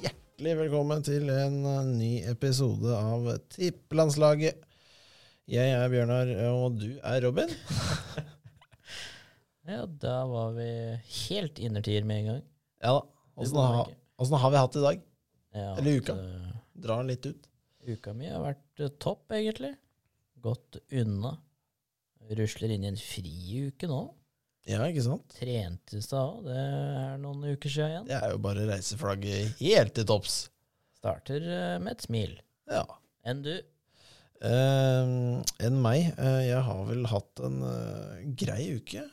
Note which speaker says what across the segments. Speaker 1: Hjertelig velkommen til en eh, ny episode av Tippelandslaget. Jeg er Bjørnar, eh, og du er Robin.
Speaker 2: Ja, da var vi helt innertier med en gang.
Speaker 1: Ja da. Åssen har, åssen har vi hatt det i dag?
Speaker 2: Ja, eh,
Speaker 1: Eller uka. Drar litt ut.
Speaker 2: uka mi har vært eh, topp, egentlig. Gått unna. Rusler inn i en friuke nå.
Speaker 1: Ja, ikke sant?
Speaker 2: Trente i stad òg. Det er noen uker siden igjen.
Speaker 1: Det er jo bare reiseflagget helt til topps.
Speaker 2: Starter eh, med et smil.
Speaker 1: Ja.
Speaker 2: Enn du?
Speaker 1: Eh, enn meg. Eh, jeg har vel hatt en eh, grei uke,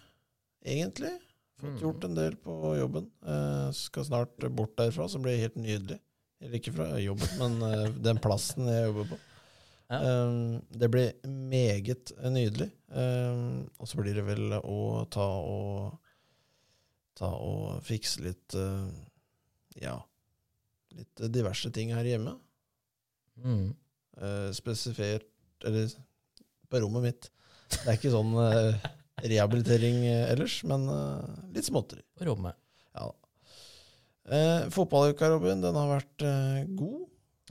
Speaker 1: egentlig. Fått
Speaker 2: Mm.
Speaker 1: gjort en del på jobben. Eh, skal snart bort derfra, som blir helt nydelig. Eller ikke fra jobben, men eh, den plassen jeg jobber på.
Speaker 2: Ja.
Speaker 1: Eh, det blir meget nydelig. Eh, og så blir det vel å ta og Ta og fikse litt eh, Ja, litt diverse ting her hjemme.
Speaker 2: Mm.
Speaker 1: Eh, spesifert Eller på rommet mitt. Det er ikke sånn eh, rehabilitering eh, ellers, men eh, litt småtteri.
Speaker 2: På rommet.
Speaker 1: Ja. Eh, fotballuka, Robin, den har vært eh, god.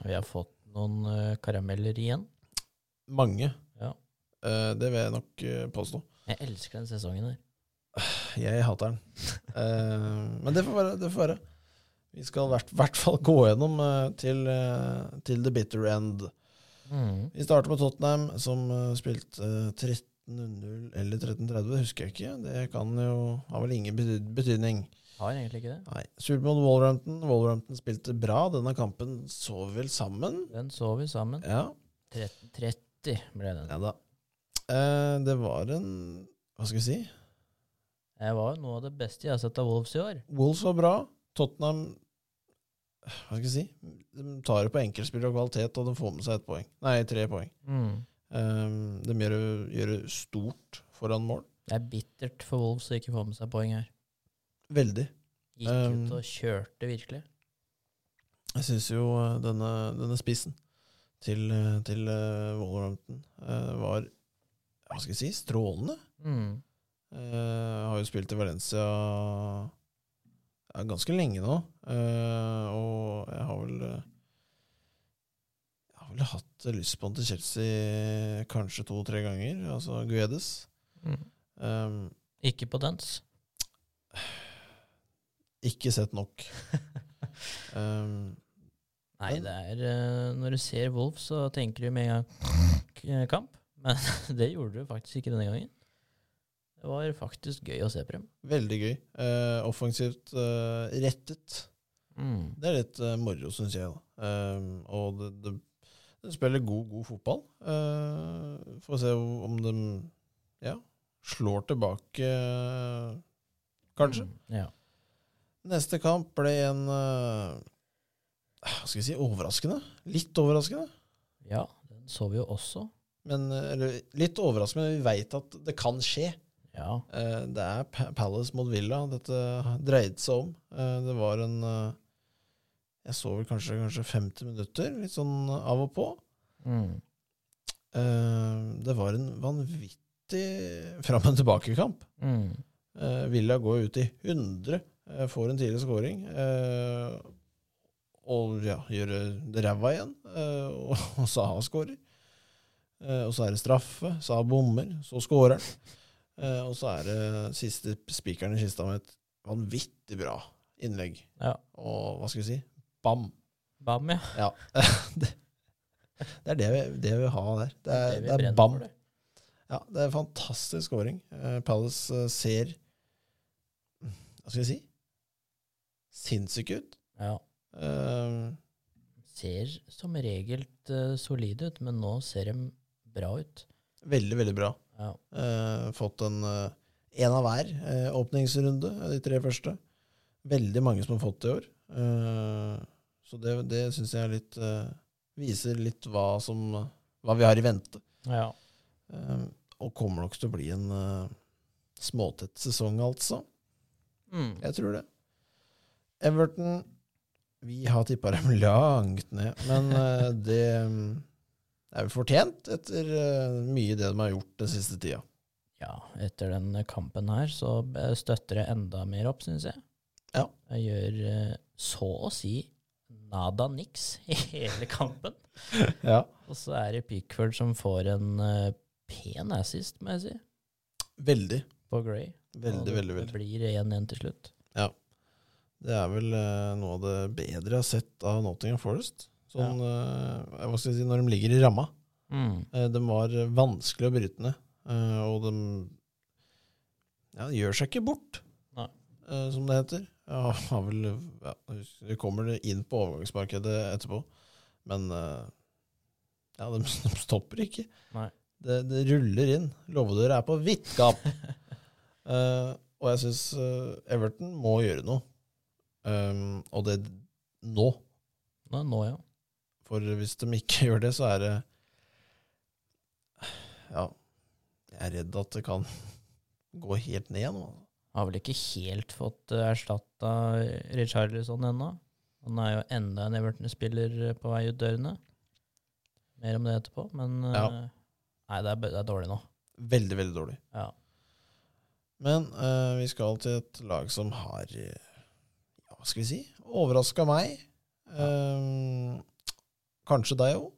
Speaker 2: Vi har fått noen eh, karameller igjen.
Speaker 1: Mange.
Speaker 2: Ja.
Speaker 1: Eh, det vil jeg nok eh, påstå.
Speaker 2: Jeg elsker den sesongen her.
Speaker 1: Jeg hater den. Eh, men det får være. Det får være. Vi skal i hvert, hvert fall gå gjennom eh, til, eh, til the bitter end.
Speaker 2: Mm.
Speaker 1: Vi starter med Tottenham, som eh, spilte eh, 13-0 eller 13-30, det husker jeg ikke. Det kan jo, har vel ingen betyd- betydning.
Speaker 2: Har egentlig ikke det.
Speaker 1: Nei. Super mot Wolverhampton. Wolverhampton spilte bra. Denne kampen så vi vel sammen.
Speaker 2: Den så vi sammen.
Speaker 1: Ja.
Speaker 2: 13.30 ble den.
Speaker 1: Ja da. Eh, det var en Hva skal jeg si?
Speaker 2: Det var jo noe av det beste jeg har sett av Wolves i år.
Speaker 1: Wolves var bra. Tottenham Hva skal jeg si? De tar det på enkeltspill og kvalitet, og de får med seg ett poeng. Nei, tre poeng.
Speaker 2: Mm.
Speaker 1: Eh, de gjør, det- gjør det stort foran mål.
Speaker 2: Det er bittert for Wolves å ikke få med seg poeng her.
Speaker 1: Veldig.
Speaker 2: Gikk
Speaker 1: Um,
Speaker 2: ut og kjørte virkelig.
Speaker 1: Jeg syns jo eh, denne, denne spissen til, eh, til eh, Wolverhampton eh, var Hva skal jeg si? Strålende.
Speaker 2: Mm.
Speaker 1: Eh, har jo spilt i Valencia ja, ganske lenge nå. Eh, og jeg har vel eh, Jeg har vel hatt lyst på han til Chelsea kanskje to-tre ganger. Altså Guedes.
Speaker 2: Mm.
Speaker 1: Eh,
Speaker 2: Ikke på dans.
Speaker 1: ikke sett nok. Eh,
Speaker 2: Nei,
Speaker 1: Men-
Speaker 2: det er eh, Når du ser Wolves, så tenker du med en gang k- eh, kamp. Men det gjorde du faktisk ikke denne gangen. Det var faktisk gøy å se på dem.
Speaker 1: veldig gøy. Eh, offensivt eh, rettet.
Speaker 2: Mm.
Speaker 1: Det er litt eh, moro, syns jeg. da. Ehm, og det, det, de spiller god, god fotball. Eh, får se om de ja, slår tilbake, eh, kanskje.
Speaker 2: Mm. Ja.
Speaker 1: Neste kamp ble en eh, Hva skal jeg si overraskende. Litt overraskende.
Speaker 2: ja, den så vi jo også.
Speaker 1: Men, eh, eller litt overraskende, men vi veit at det kan skje.
Speaker 2: Ja.
Speaker 1: Eh, det er Pa- Palace mot Villa dette dreide seg om. Eh, det var en eh, Jeg så vel kanskje, kanskje 50 minutter, litt sånn av og på.
Speaker 2: Mm.
Speaker 1: Eh, det var en vanvittig fram og tilbake-kamp.
Speaker 2: Mm.
Speaker 1: Eh, Villa går ut i 100, eh, får en tidlig scoring. eh, og ja, gjør det ræva igjen. eh, og, og Saha scorer. Eh, og så er det straffe. Saha bommer, så scorer han. Eh, og så er det siste spikeren i kista med et vanvittig bra innlegg.
Speaker 2: Ja.
Speaker 1: Og hva skal vi si? Bam!
Speaker 2: Bam, ja.
Speaker 1: Ja. det, det er det vi, det vi har der. Det er,
Speaker 2: vi
Speaker 1: det er
Speaker 2: brenner
Speaker 1: bam.
Speaker 2: for, det.
Speaker 1: Ja, det er en fantastisk scoring. Eh, Palace eh, ser Hva skal jeg si? Sinnssyke ut.
Speaker 2: Ja.
Speaker 1: Eh,
Speaker 2: Ser som regel eh, solide ut, men nå ser de bra ut.
Speaker 1: veldig, veldig bra.
Speaker 2: Ja.
Speaker 1: Eh, fått en eh, en av hver eh, åpningsrunde, eh, de tre første. Veldig mange som har fått det i år. Eh, så det, det syns jeg er litt eh, Viser litt hva, som, hva vi har i vente.
Speaker 2: ja.
Speaker 1: Eh, og kommer nok til å bli en eh, småtett sesong, altså.
Speaker 2: Mm.
Speaker 1: Jeg tror det. Everton Vi har tippa dem langt ned, men eh, det mm, er vel fortjent etter eh, mye det de har gjort den siste tida.
Speaker 2: Ja, etter den kampen her så b- støtter det enda mer opp, syns jeg.
Speaker 1: Ja.
Speaker 2: Jeg gjør eh, så å si nada niks i hele kampen.
Speaker 1: Ja.
Speaker 2: Og så er det Pickford som får en eh, pen assist, må jeg si,
Speaker 1: Veldig.
Speaker 2: på Gray.
Speaker 1: Veldig, veldig, veldig.
Speaker 2: Det blir 1-1 til slutt.
Speaker 1: Det er vel eh, noe av det bedre jeg har sett av Nottingham Forest. Sånn, eh, hva skal jeg si, når de ligger i ramma. Eh, De var vanskelig å bryte ned, eh, og de ja, de gjør seg ikke bort,
Speaker 2: Nei.
Speaker 1: eh, som det heter. Ja, har vel, ja, vi kommer inn på overgangsmarkedet etterpå, men eh, ja, de, de stopper ikke.
Speaker 2: Nei.
Speaker 1: Det, det ruller inn. Låvedøra er på vidt gap. Eh, og jeg syns Everton må gjøre noe, um, og det nå.
Speaker 2: Nå, nå, ja.
Speaker 1: For hvis de ikke gjør det, så er det Ja, jeg er redd at det kan gå helt ned nå.
Speaker 2: Har vel ikke helt fått uh, erstatta Richarlison ennå. Han er jo enda en Everton-spiller eh, på vei ut dørene. Mer om det etterpå, men eh,
Speaker 1: Ja.
Speaker 2: Nei, det er, b- det er dårlig nå.
Speaker 1: Veldig, veldig dårlig.
Speaker 2: Ja.
Speaker 1: Men eh, vi skal til et lag som har eh, ja, Hva skal vi si? Overraska meg. Eh, kanskje deg òg.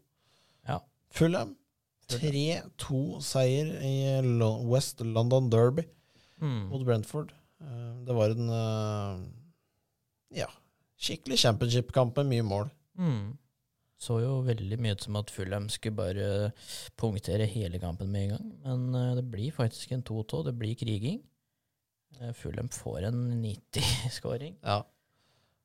Speaker 2: Ja.
Speaker 1: Fulham. 3-2-seier i Lo- West London Derby.
Speaker 2: Mm.
Speaker 1: mot Brentford. Eh, Det var en eh, ja, skikkelig championship-kamp med mye mål.
Speaker 2: Mm. Så jo veldig mye ut som at Fulham skulle bare punktere hele kampen med en gang. Men eh, det blir faktisk en 2-2. Det blir kriging. Eh, Fulham får en 90-skåring.
Speaker 1: Ja.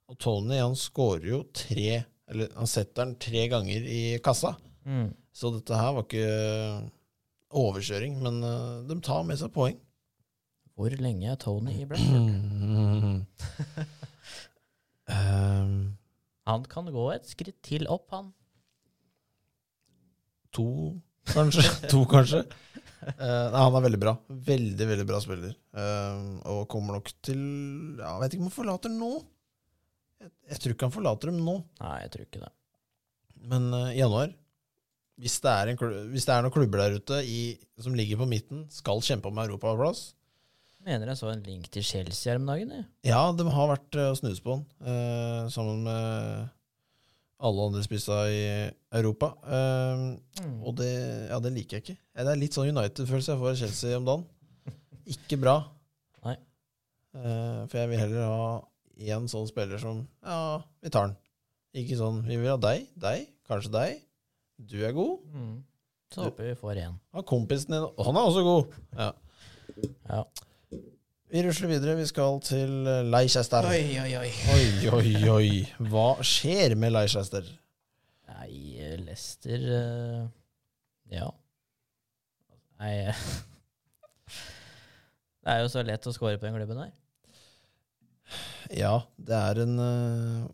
Speaker 1: Og Tony han skårer jo tre Eller han setter den tre ganger i kassa.
Speaker 2: Mm.
Speaker 1: Så dette her var ikke overkjøring, men eh, de tar med seg poeng.
Speaker 2: Hvor lenge er Tony i Brentford?
Speaker 1: um, Eh,
Speaker 2: Han kan gå et skritt til opp, han.
Speaker 1: to, kanskje. to, kanskje. Eh, nei, han er veldig bra. Veldig, veldig bra spiller. Eh, og kommer nok til ja, Jeg vet ikke om han forlater nå. Jeg, jeg tror ikke han forlater dem nå,
Speaker 2: Nei, jeg tror ikke det.
Speaker 1: men eh, i januar hvis det, er en, klu- hvis det er noen klubber der ute i, som ligger på midten, skal kjempe om europaplass
Speaker 2: Mener jeg så en link til Chelsea her om dagen. Jeg.
Speaker 1: Ja, de har vært eh, og snus på den, eh, sammen med alle andre spissa i Europa. Eh,
Speaker 2: Mm.
Speaker 1: Og det, ja, det liker jeg ikke. Ja, Det er litt sånn United-følelse jeg får av Chelsea om dagen. Ikke bra.
Speaker 2: Nei.
Speaker 1: Eh, for jeg vil heller ha én sånn spiller som Ja, vi tar den. Ikke sånn Vi vil ha deg, deg, kanskje deg. Du er god.
Speaker 2: Mm. Så håper vi får én.
Speaker 1: Ha kompisen din. Og han er også god. Ja.
Speaker 2: Ja.
Speaker 1: Vi rusler videre. Vi skal til eh, Leicester. Oi,
Speaker 2: oi, oi.
Speaker 1: oi, oi. Hva skjer med Leicester?
Speaker 2: Nei, eh, Leicester eh, Ja. Nei eh, Det er jo så lett å score på den klubben der.
Speaker 1: Ja, det er en eh,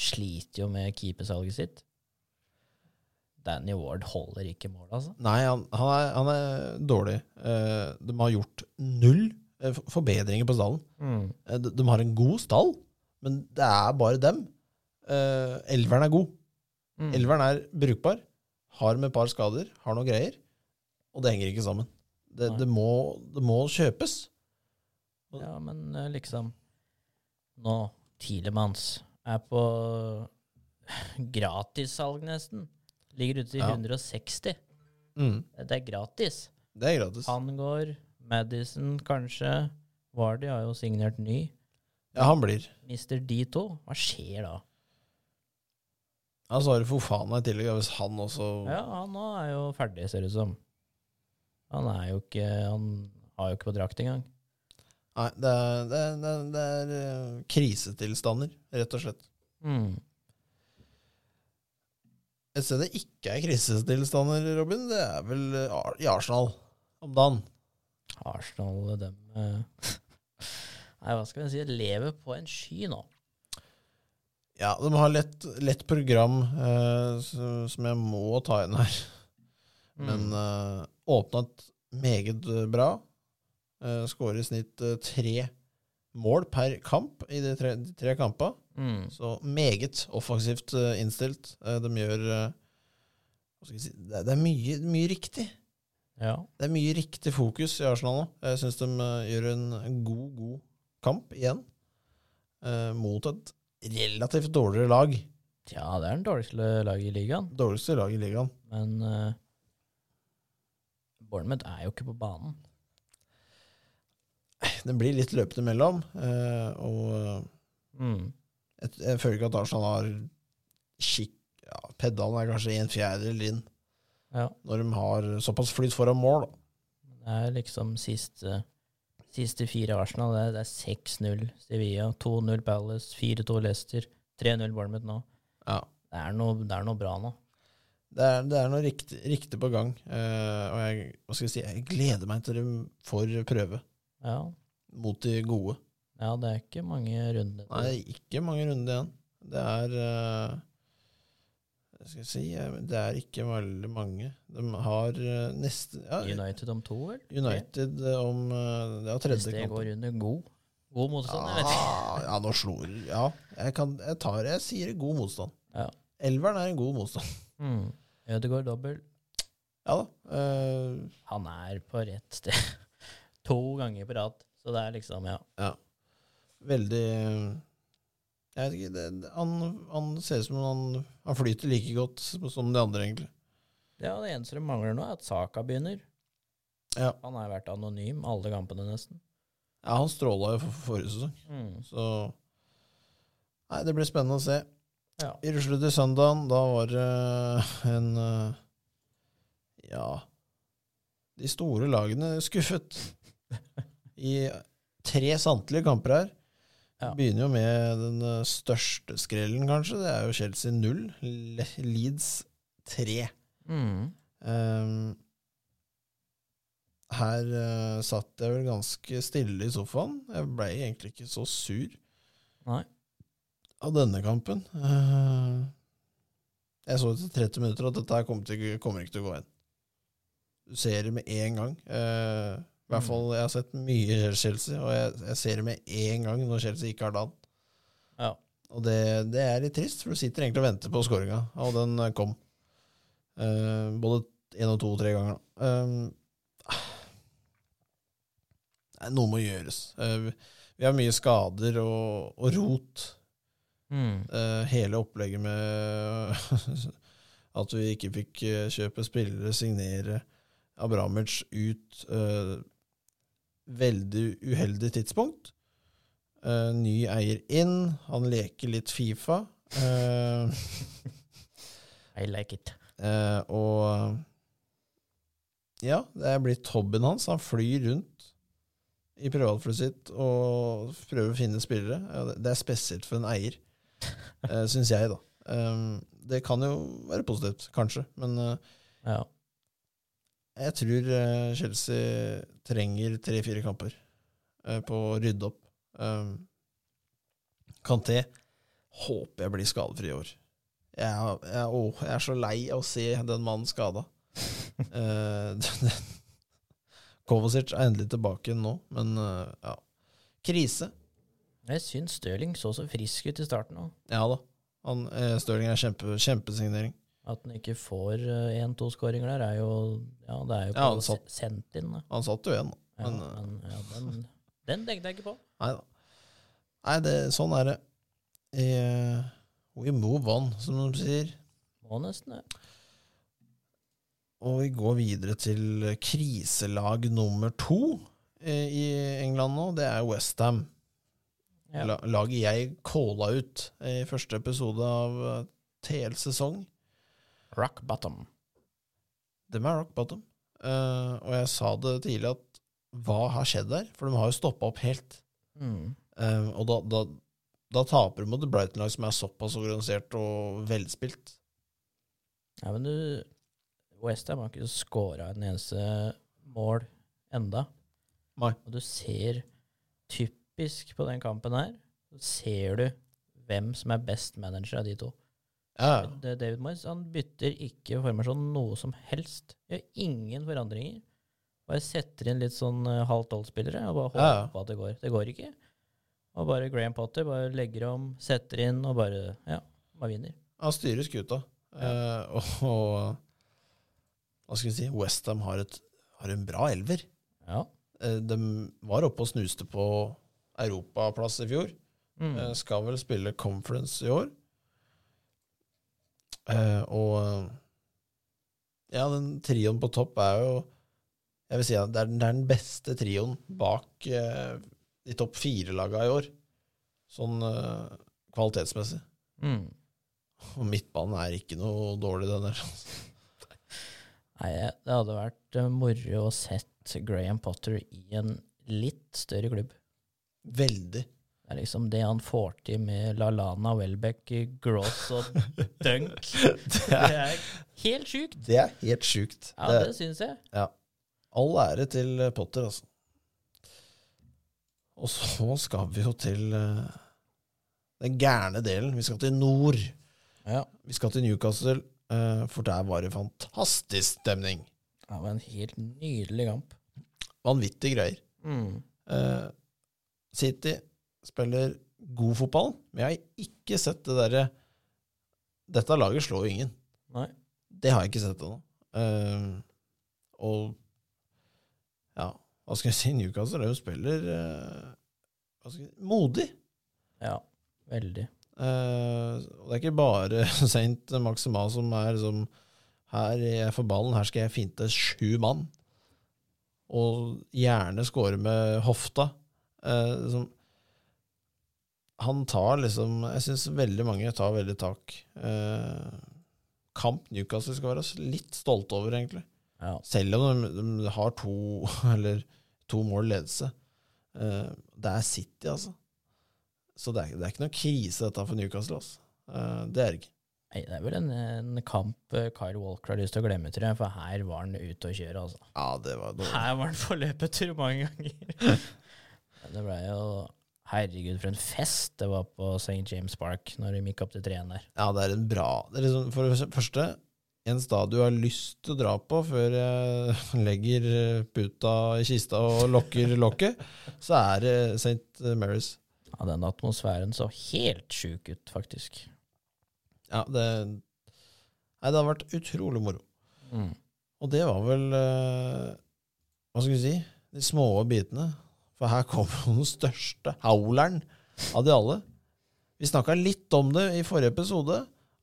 Speaker 2: Sliter jo med keepersalget sitt. Danny Ward holder ikke mål, altså.
Speaker 1: Nei, han, han, er, han er dårlig. Eh, de har gjort null eh, for- forbedringer på stallen.
Speaker 2: Mm.
Speaker 1: Eh, de, de har en god stall, men det er bare dem. Eh, elveren er god.
Speaker 2: Mm.
Speaker 1: Elveren er brukbar. Har med et par skader, har noe greier. Og det henger ikke sammen. Det,
Speaker 2: Nei.
Speaker 1: det, må, det må kjøpes.
Speaker 2: Ja, men eh, liksom Nå, Tilemanns er på gratissalg, nesten. Ligger ute i
Speaker 1: Ja.
Speaker 2: 160.
Speaker 1: Mm.
Speaker 2: Det er gratis.
Speaker 1: Det er gratis.
Speaker 2: Han går, Madison kanskje. Vardy har jo signert ny.
Speaker 1: Ja, han blir.
Speaker 2: Mister de to. Hva skjer da?
Speaker 1: Ja, så har du Fofana i tillegg, ja, hvis han også
Speaker 2: Ja, han nå er jo ferdig, ser det ut som. Han er jo ikke Han har jo ikke på drakt engang.
Speaker 1: Nei, det er, det, er, det, er, det er eh, krisetilstander, rett og slett.
Speaker 2: Mm.
Speaker 1: Et sted det ikke er krisetilstander, Robin, det er vel eh, Ar- i Arsenal om dagen.
Speaker 2: Arsenal, dem eh, Nei, hva skal vi si? Lever på en sky nå.
Speaker 1: Ja, de har lett, lett program eh, s- som jeg må ta inn her,
Speaker 2: Mm.
Speaker 1: men eh, åpnet meget eh, bra. Eh, Skårer i snitt eh, tre mål per kamp i de tre, de tre kampene.
Speaker 2: mm.
Speaker 1: Så meget offensivt eh, innstilt. Eh, de gjør eh, hva skal jeg si, det, er- det er mye, mye riktig.
Speaker 2: Ja.
Speaker 1: Det er mye riktig fokus i Arsenal nå. Jeg syns de eh, gjør en en god, god kamp igjen eh, mot et relativt dårligere lag
Speaker 2: Tja, det er den dårligste laget i ligaen,
Speaker 1: Dårligste lag i ligaen.
Speaker 2: men eh, Bournemouth er jo ikke på banen.
Speaker 1: Den blir litt løpende imellom, eh, og
Speaker 2: Mm.
Speaker 1: jeg, jeg føler ikke at Arsenal har skikk ja, Pedalen er kanskje en fjerdedel inn
Speaker 2: Ja.
Speaker 1: når de har såpass flyt foran mål. Da.
Speaker 2: Det er liksom siste, siste fire Arsenal. Det er, det er 6-0 Sevilla, 2-0 Palace, 4-2 Leicester, 3-0 Bournemouth nå.
Speaker 1: Ja.
Speaker 2: Det er, noe, det er noe bra nå.
Speaker 1: Det er, det er noe riktig, riktig på gang, eh, og jeg, hva skal jeg, si, jeg gleder meg til de får prøve
Speaker 2: Ja,
Speaker 1: mot de gode.
Speaker 2: ja det er ikke mange runder. til.
Speaker 1: Nei, ikke mange runder igjen. Det er eh, Hva skal jeg si eh, Det er ikke veldig mange. De har eh, neste ja,
Speaker 2: United om to, vel?
Speaker 1: United eh, om eh, Det er
Speaker 2: Hvis
Speaker 1: tredje
Speaker 2: det
Speaker 1: kamp.
Speaker 2: går under god, god motstand, jeg vet ikke.
Speaker 1: Ah, ja, nå slår Ja, jeg, kan, jeg tar Jeg sier god motstand.
Speaker 2: Ja.
Speaker 1: Elveren er en god motstand.
Speaker 2: Mm. Ødegaard dobbel.
Speaker 1: Ja da. eh,
Speaker 2: Han er på rett sted. to ganger på rad. Så det er liksom, ja.
Speaker 1: veldig eh, Jeg vet ikke det, det- han, han ser ut som han, han flyter like godt som de andre, egentlig.
Speaker 2: Ja, Det eneste de mangler nå, er at Saka begynner.
Speaker 1: Ja.
Speaker 2: Han har vært anonym alle kampene, nesten.
Speaker 1: Ja, han stråla jo for, for forrige sesong.
Speaker 2: Mm.
Speaker 1: Så Nei, det blir spennende å se.
Speaker 2: Ja.
Speaker 1: I rusler til søndagen, da var det en eh, Ja De store lagene skuffet. I tre samtlige kamper her.
Speaker 2: Ja.
Speaker 1: Begynner jo med den eh, største skrellen, kanskje. Det er jo Chelsea 0, Le- Leeds 3.
Speaker 2: Mm.
Speaker 1: Ehm, her eh, satt jeg vel ganske stille i sofaen. Jeg ble egentlig ikke så sur
Speaker 2: Nei.
Speaker 1: av denne kampen. Eh, jeg så etter 30 minutter at dette her kommer, til, kommer ikke til å gå inn. Du ser det med en gang. Eh, I
Speaker 2: Mm.
Speaker 1: hvert fall, Jeg har sett mye Chelsea, og jeg, jeg ser det med en gang når Chelsea ikke har dagen.
Speaker 2: Ja.
Speaker 1: Og det, det er litt trist, for du sitter egentlig og venter på skåringa, og den eh, kom. Eh, både én og to og tre ganger. da. Um, nei, noe må gjøres. Eh, vi- vi har mye skader og, og rot.
Speaker 2: Mm.
Speaker 1: Eh, hele opplegget med at vi ikke fikk eh, kjøpe spillere, signere Abramovic ut eh, Veldig uheldig tidspunkt. Eh, ny eier inn, han leker litt Fifa. Eh,
Speaker 2: I like it.
Speaker 1: eh, og ja, det er blitt hobbyen hans. Han flyr rundt i privatflyet sitt og prøver å finne spillere. Ja, det- Det er spesielt for en eier, uh, syns jeg, da. Um, det kan jo være positivt, kanskje, men eh,
Speaker 2: Ja.
Speaker 1: jeg tror eh, Chelsea trenger tre-fire kamper eh, på å rydde opp. Um, Kanté håper jeg blir skadefri i år. Jeg, er- jeg, er- åh, jeg er så lei av å se den mannen skada. Eh, Kovacic er endelig tilbake nå, men eh, ja. Krise.
Speaker 2: Jeg syns Stirling så så frisk ut i starten òg.
Speaker 1: Ja da. Han, eh, Stirling er kjempe, kjempesignering.
Speaker 2: At han ikke får én-to skåringer der, er jo Ja, det er jo
Speaker 1: Ja, han
Speaker 2: på
Speaker 1: satt-
Speaker 2: sendt inn, da.
Speaker 1: Han satt jo igjen, da.
Speaker 2: Ja,
Speaker 1: Men,
Speaker 2: men,
Speaker 1: eh,
Speaker 2: ja, den, den tenkte jeg ikke på.
Speaker 1: Nei da. Nei, det, sånn er det. Eh, we move on, som de sier.
Speaker 2: Må nesten det.
Speaker 1: Og vi går videre til kriselag nummer to eh, i England nå. Det er Westham.
Speaker 2: Ja.
Speaker 1: La, laget jeg calla ut eh, i første episode av eh, TL sesong.
Speaker 2: Rock bottom.
Speaker 1: Dem er rock bottom. Eh, og jeg sa det tidlig at hva har skjedd der? For de har jo stoppa opp helt.
Speaker 2: Mm.
Speaker 1: Eh, og da, da, da taper de mot et Brighton-lag som er såpass organisert og velspilt.
Speaker 2: Ja, men du Westham har ikke scora en eneste mål enda.
Speaker 1: Nei.
Speaker 2: Og du ser typisk på den kampen her, så ser du hvem som er best manager av de to.
Speaker 1: Ja, ja.
Speaker 2: Det- David Moyes han bytter ikke formasjon noe som helst. Gjør ingen forandringer. Bare setter inn litt sånn eh, halvt tolv-spillere og bare håper
Speaker 1: Ja, ja.
Speaker 2: på at det går. Det går ikke. Og bare Graham Potter bare legger om, setter inn og bare ja, bare vinner.
Speaker 1: Han styrer skuta. Eh, og, og hva skal vi si, Westham har, et- har en bra elver.
Speaker 2: Ja.
Speaker 1: Eh, de var oppe og snuste på europaplass i fjor.
Speaker 2: Mm.
Speaker 1: Eh, skal vel spille conference i år. Eh, og eh, ja, den trioen på topp er jo Jeg vil si at det er, den- det er den beste trioen bak eh, de topp fire laga i år, sånn eh, kvalitetsmessig.
Speaker 2: Mm.
Speaker 1: Og midtbanen er ikke noe dårlig, den der.
Speaker 2: Nei, det hadde vært eh, moro å sett Graham Potter i en litt større klubb.
Speaker 1: Veldig.
Speaker 2: Det er liksom det han får til med LaLana, Welbeck, Gross og Dunk.
Speaker 1: Det
Speaker 2: Det
Speaker 1: er,
Speaker 2: er helt sjukt!
Speaker 1: det er helt sjukt.
Speaker 2: Ja,
Speaker 1: Det-
Speaker 2: det syns jeg.
Speaker 1: All ære til Potter, altså. Og så skal vi jo til eh, den gærne delen. Vi skal til nord.
Speaker 2: Ja.
Speaker 1: Vi skal til Newcastle, eh, for der var det fantastisk stemning.
Speaker 2: Det var en helt nydelig kamp.
Speaker 1: Vanvittige greier.
Speaker 2: Mm.
Speaker 1: Eh, City spiller god fotball, men jeg har ikke sett det derre Dette laget slår jo ingen.
Speaker 2: Nei.
Speaker 1: Det har jeg ikke sett ennå. Eh, og ja, hva skal jeg si? Newcastle er jo spiller eh, hva skal jeg, si, modig.
Speaker 2: Ja, veldig.
Speaker 1: Eh, og det er ikke bare Saint Maxima som er liksom Her jeg får ballen, her skal jeg finte sju mann. Og gjerne score med hofta. Eh, liksom, han tar liksom Jeg syns veldig mange tar veldig tak. Eh, kamp Newcastle skal være litt stolte over, egentlig.
Speaker 2: Ja.
Speaker 1: Selv om de, de har to Eller to mål ledelse. Eh, det er City, altså. Så det er, det er ikke noe krise, dette for Newcastle. Altså. Eh, det er det ikke.
Speaker 2: Nei, det er vel en, en kamp eh, Kyle Walker har lyst til å glemme, tror jeg, for her var han ute å kjøre, altså.
Speaker 1: Ja, det var dårlig.
Speaker 2: Her var han på løpetur mange ganger. Men det blei jo Herregud, for en fest det var på St. James Park når de gikk opp til treen der.
Speaker 1: Ja, det er en bra det er liksom, For det første, en stad du har lyst til å dra på før jeg legger puta i kista og lokker lokket, så er det St. Mary's.
Speaker 2: Ja, den atmosfæren så helt sjuk ut, faktisk.
Speaker 1: Ja, det Nei, det har vært utrolig moro.
Speaker 2: Mm.
Speaker 1: Og det var vel eh, Hva skal vi si? De små bitene. For her kom jo den største howleren av de alle. Vi snakka litt om det i forrige episode,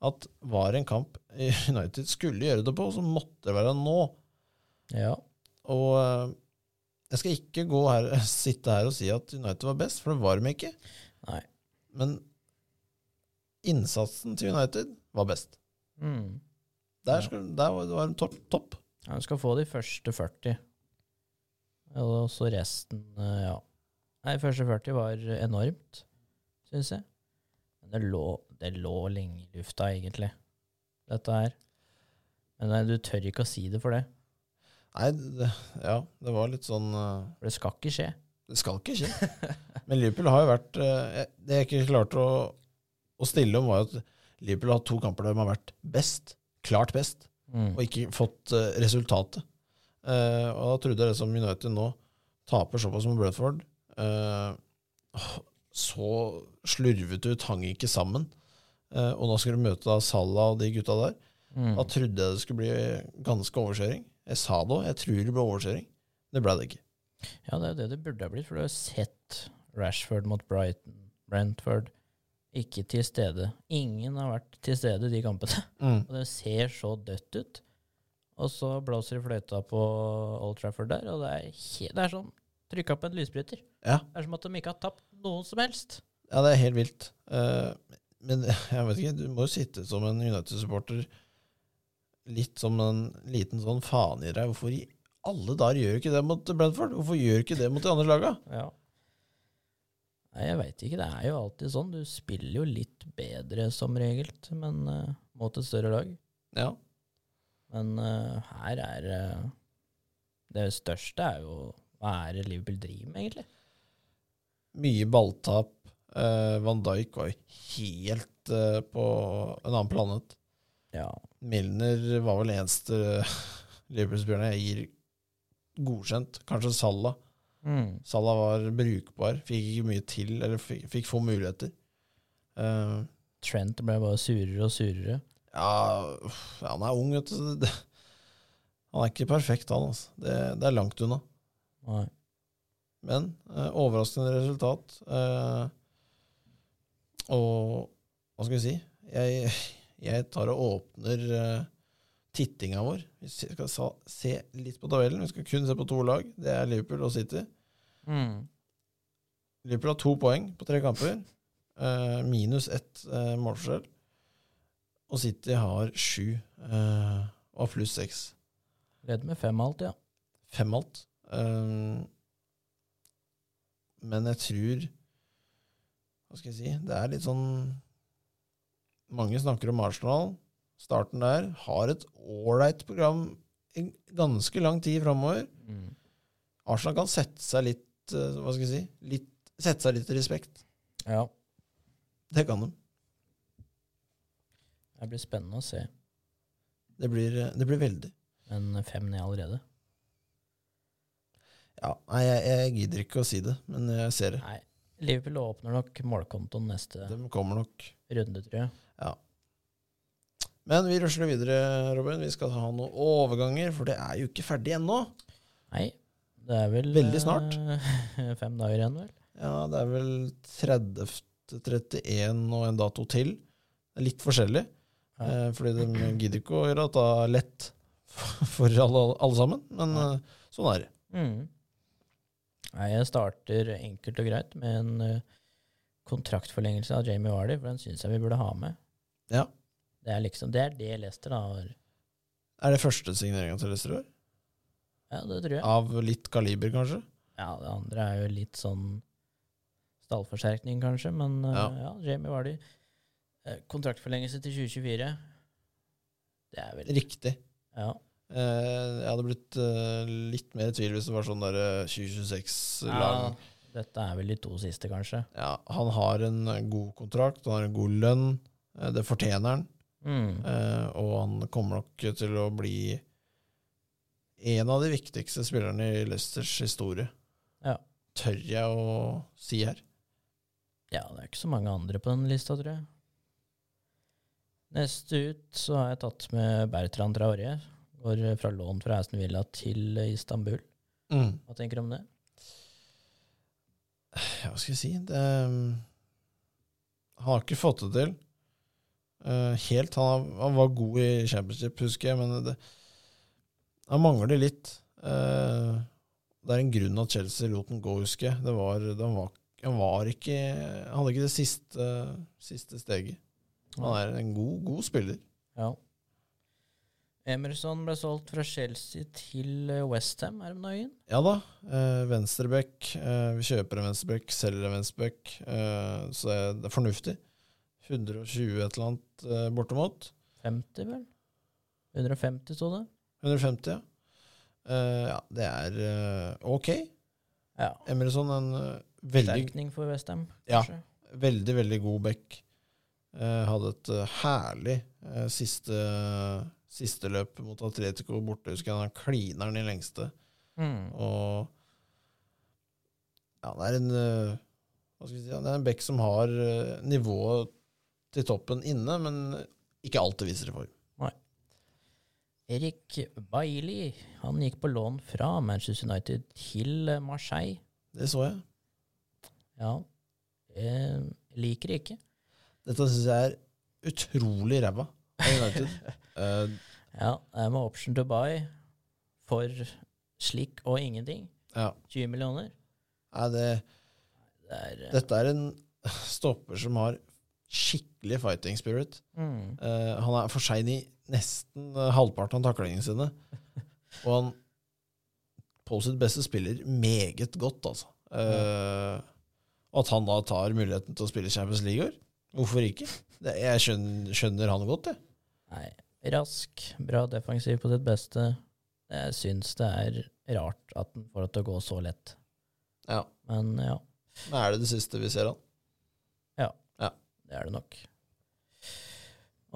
Speaker 1: at var en kamp United skulle gjøre det på, så måtte det være nå.
Speaker 2: Ja.
Speaker 1: Og eh, jeg skal ikke gå her, sitte her og si at United var best, for det var de ikke.
Speaker 2: Nei.
Speaker 1: Men innsatsen til United var best.
Speaker 2: Mm.
Speaker 1: Der,
Speaker 2: Ja.
Speaker 1: skulle, der var, var de topp. topp.
Speaker 2: Ja, du skal få de første 40. Og så resten, eh, ja. Nei, første 40 var enormt, syns jeg. Men det lå, det lå lenge i lufta, egentlig, dette her. Men nei, du tør ikke å si det for det,
Speaker 1: Nei, det, ja, det var litt sånn eh,
Speaker 2: for det skal ikke skje.
Speaker 1: Det skal ikke skje. Men Liverpool har jo vært eh, Det jeg ikke klarte å, å stille om, var at Liverpool har hatt to kamper der de har vært best. Klart best.
Speaker 2: Mm.
Speaker 1: Og ikke fått eh, resultatet. Eh, og da trodde jeg det som United nå taper såpass med Bradford eh, åh, Så slurvete ut, hang ikke sammen. Eh, og nå skal du møte da Salah og de gutta der.
Speaker 2: Mm.
Speaker 1: Da trodde jeg det skulle bli ganske overkjøring. Jeg sa det òg, jeg tror det ble overkjøring. Det ble det ikke.
Speaker 2: Ja, det er jo det det burde ha blitt, for du har sett Rashford mot Brighton, Brentford, ikke til stede. Ingen har vært til stede i de kampene. Og det ser så dødt ut. Og så blåser de fløyta på Old Trafford der, og det er, he det er som trykka på en lysbryter.
Speaker 1: Ja.
Speaker 2: Det er som at de ikke har tapt noen som helst.
Speaker 1: Ja, det er helt vilt. Eh, men jeg vet ikke, du må jo sitte som en United-supporter litt som en liten sånn faen i deg. Hvorfor i alle dager gjør ikke det mot Brentford? Hvorfor gjør ikke det mot de andre laga?
Speaker 2: Ja. Nei, jeg veit ikke. Det er jo alltid sånn. Du spiller jo litt bedre som regel, men eh, mot et større lag.
Speaker 1: Ja.
Speaker 2: Men eh, her er eh, Det største er jo Hva er det Liverpool driver med, egentlig?
Speaker 1: Mye balltap. Eh, Van Dijk var jo helt eh, på en annen planet.
Speaker 2: Ja.
Speaker 1: Milner var vel eneste Liverpool-spilleren jeg gir godkjent. Kanskje Salah.
Speaker 2: Mm.
Speaker 1: Salah var brukbar. Fikk ikke mye til, eller fikk, fikk få muligheter. Eh,
Speaker 2: Trent ble bare surere og surere.
Speaker 1: Ja, uff, han er ung, vet du. så det- Han er ikke perfekt, han. Altså. Det, det er langt unna.
Speaker 2: Nei.
Speaker 1: Men eh, overraskende resultat. Eh, og hva skal vi si? Jeg, Jeg tar og åpner eh, tittinga vår. Vi se- skal sa, se litt på tabellen. Vi skal kun se på to lag. Det er Liverpool og City.
Speaker 2: Mm.
Speaker 1: Liverpool har to poeng på tre kamper. eh, minus ett eh, målforskjell. Og City har sju eh, og pluss seks.
Speaker 2: Leder med fem alt, ja.
Speaker 1: Fem alt. Eh, men jeg tror Hva skal jeg si? Det er litt sånn Mange snakker om Arsenal. Starten der har et ålreit program en ganske lang tid framover.
Speaker 2: Mm.
Speaker 1: Arsenal kan sette seg litt, eh, hva skal jeg si, litt, sette seg litt respekt.
Speaker 2: Ja,
Speaker 1: Det kan de.
Speaker 2: det blir spennende å se.
Speaker 1: Det blir, det blir veldig.
Speaker 2: Men fem ned allerede.
Speaker 1: Ja, nei, jeg, jeg gidder ikke å si det, men jeg ser det.
Speaker 2: Nei, Liverpool åpner nok målkontoen neste
Speaker 1: De kommer nok.
Speaker 2: runde, tror jeg.
Speaker 1: Men vi rusler videre, Robin. Vi skal ha noen overganger, for det er jo ikke ferdig ennå.
Speaker 2: Nei, det er vel
Speaker 1: Veldig snart.
Speaker 2: eh, fem dager igjen, vel.
Speaker 1: Ja, det er vel 30, 31 og en dato til. Det er litt forskjellig,
Speaker 2: Ja.
Speaker 1: eh, fordi de gidder ikke å gjøre dette lett for alle, alle sammen. Men
Speaker 2: Nei.
Speaker 1: eh, sånn er det.
Speaker 2: Mm. Nei, jeg starter enkelt og greit med en eh, kontraktforlengelse av Jamie Vardy, for den syns jeg vi burde ha med.
Speaker 1: Ja.
Speaker 2: Det er liksom, det er det Leicester da har.
Speaker 1: Er det første signeringa til Lesterød?
Speaker 2: Ja, det tror jeg.
Speaker 1: Av litt kaliber, kanskje?
Speaker 2: Ja, det andre er jo litt sånn stallforsterkning, kanskje, men eh,
Speaker 1: Ja.
Speaker 2: ja, Jamie Vardy. Eh, kontraktforlengelse til 2024. Det er vel
Speaker 1: Riktig.
Speaker 2: Ja.
Speaker 1: Eh, jeg hadde blitt eh, litt mer i tvil hvis det var sånn der eh, 2026 lang.
Speaker 2: Ja, dette er vel de to siste, kanskje.
Speaker 1: Ja. han har en eh, god kontrakt, han har en god lønn. Eh, det fortjener han.
Speaker 2: Mm.
Speaker 1: Eh, og han kommer nok til å bli en av de viktigste spillerne i Leicesters historie.
Speaker 2: Ja.
Speaker 1: Tør jeg å si her.
Speaker 2: Ja, det er ikke så mange andre på den lista, tror jeg. Neste ut så har jeg tatt med Bertrand Traoré. Går eh, fra lån fra Aston Villa til eh, Istanbul.
Speaker 1: Mm.
Speaker 2: Hva tenker du om det?
Speaker 1: Ja, hva skal jeg si det, um, Han har ikke fått det til eh, helt. Han, har- han var god i championship, husker jeg, men det, han mangler litt. Eh, det er en grunn at Chelsea lot den gå, husker jeg. Det var, det- han, var, han var ikke Han hadde ikke det siste, siste steget. Han er en god, god spiller.
Speaker 2: Ja. Emerson ble solgt fra Chelsea til eh, Westham her om dagen.
Speaker 1: Ja da. Eh, venstreback. Eh, vi kjøper en venstreback, selger en venstreback. Eh, så det er, det er fornuftig. 120 et eller annet eh, bortimot.
Speaker 2: 50, vel? 150 sto det.
Speaker 1: 150, ja. Eh, ja, det er eh, ok.
Speaker 2: Ja.
Speaker 1: Emerson en eh, veldig,
Speaker 2: Forsterkning for Westham,
Speaker 1: Ja.
Speaker 2: kanskje.
Speaker 1: veldig, veldig god back. Eh, hadde et eh, herlig eh, siste, siste løp mot Atletico borte, husker jeg. Han kliner den i lengste.
Speaker 2: Mm.
Speaker 1: Og ja, det er en eh, Hva skal vi si ja, Det er en bekk som har eh, nivået til toppen inne, men ikke alltid viser det form.
Speaker 2: Erik Bailey han gikk på lån fra Manchester United til eh, Marseille.
Speaker 1: Det så jeg.
Speaker 2: Ja, eh, liker det ikke.
Speaker 1: Dette syns jeg er utrolig ræva av United. Eh,
Speaker 2: Ja, det er med option to buy for slikk og ingenting.
Speaker 1: ja.
Speaker 2: 20 millioner.
Speaker 1: Nei, det,
Speaker 2: Det er eh,
Speaker 1: dette er en stopper som har skikkelig fighting spirit.
Speaker 2: mm,
Speaker 1: Eh, han er for sein i nesten eh, halvparten av taklingene sine. Og han på sitt beste spiller meget godt, altså. Eh, og At han da tar muligheten til å spille Champions League i år, hvorfor ikke? Det, jeg skjønner, skjønner han godt, jeg.
Speaker 2: Nei, rask, bra defensiv på sitt beste. Jeg syns det er rart at den får det til å gå så lett.
Speaker 1: Ja.
Speaker 2: Men ja,
Speaker 1: Men er det det siste vi ser han?
Speaker 2: det er det nok.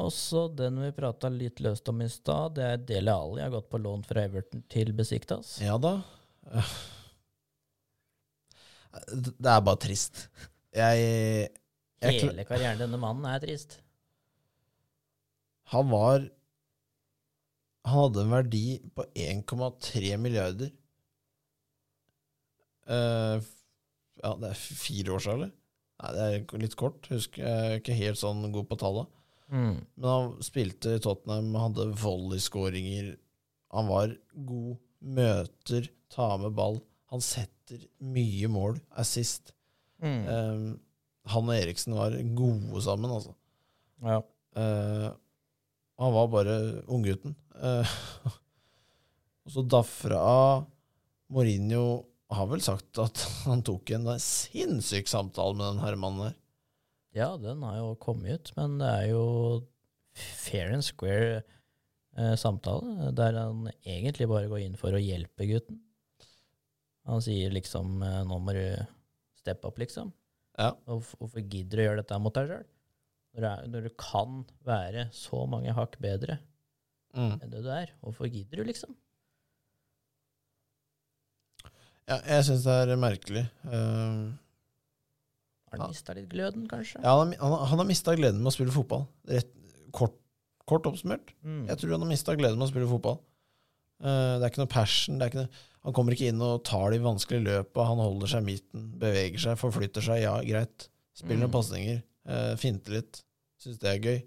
Speaker 2: Også den vi prata litt løst om i stad, det er Dele Alli har gått på lån fra Everton til Besiktas.
Speaker 1: Ja da. Eh, Det er bare trist. Jeg, jeg kl-
Speaker 2: Hele karrieren til denne mannen er trist.
Speaker 1: Han var Han hadde en verdi på 1,3 milliarder. Eh, f- ja, det er f- fire år siden, eller? Nei, det er k- litt kort. Husker jeg er ikke helt sånn god på tallet.
Speaker 2: Mm.
Speaker 1: Men han spilte i Tottenham, hadde volleyskåringer. Han var god, møter, tar med ball. Han setter mye mål, assist.
Speaker 2: Mm.
Speaker 1: Eh, han og Eriksen var gode sammen, altså.
Speaker 2: Ja.
Speaker 1: Eh, han var bare unggutten. Eh, og så dafra av Mourinho har vel sagt at han tok en sinnssyk samtale med den her mannen her.
Speaker 2: ja, den har jo kommet ut, men det er jo fair and square eh, samtale, der han egentlig bare går inn for å hjelpe gutten. Han sier liksom eh, 'nå må du steppe opp', liksom.
Speaker 1: Ja.
Speaker 2: Hvorf- Hvorfor gidder du å gjøre dette mot deg sjøl? Når, du er- når du kan være så mange hakk bedre
Speaker 1: Mm.
Speaker 2: enn det du er, hvorfor gidder du, liksom?
Speaker 1: Ja, jeg syns det er merkelig. Eh,
Speaker 2: Har
Speaker 1: Ja.
Speaker 2: du mista litt gløden, kanskje?
Speaker 1: ja, han, har- han, har- han har mista gleden med å spille fotball. Rett, kort, kort oppsummert.
Speaker 2: Mm.
Speaker 1: Jeg tror han har mista gleden med å spille fotball. Eh, det er ikke noe passion. Det er ikke noe, han kommer ikke inn og tar de vanskelige løpa. Han holder seg i midten, beveger seg, forflytter seg. Ja, greit. Spiller
Speaker 2: Mm.
Speaker 1: noen pasninger. eh, finter litt. Syns det er gøy.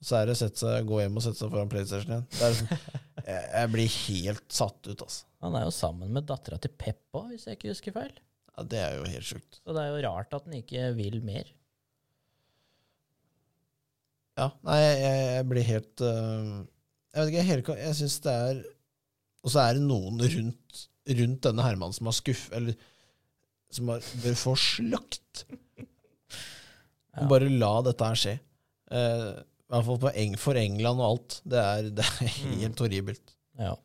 Speaker 1: Så er det å sette seg, gå hjem og sette seg foran PlayStation igjen. Det er, sånn- jeg, jeg blir helt satt ut, altså.
Speaker 2: Han er jo sammen med dattera til Peppa, hvis jeg ikke husker feil.
Speaker 1: Ja, det er jo helt sjukt.
Speaker 2: Så det er jo rart at han ikke vil mer.
Speaker 1: Ja, nei, jeg, jeg blir helt øh, Jeg vet ikke, jeg, helt, jeg syns det er Og så er det noen rundt, rundt denne Herman som har skuff... Eller som har, bør få slakt.
Speaker 2: Ja.
Speaker 1: Bare la dette her skje. Eh, I hvert fall på Eng, for England og alt. Det er, det er helt horribelt.
Speaker 2: Ja.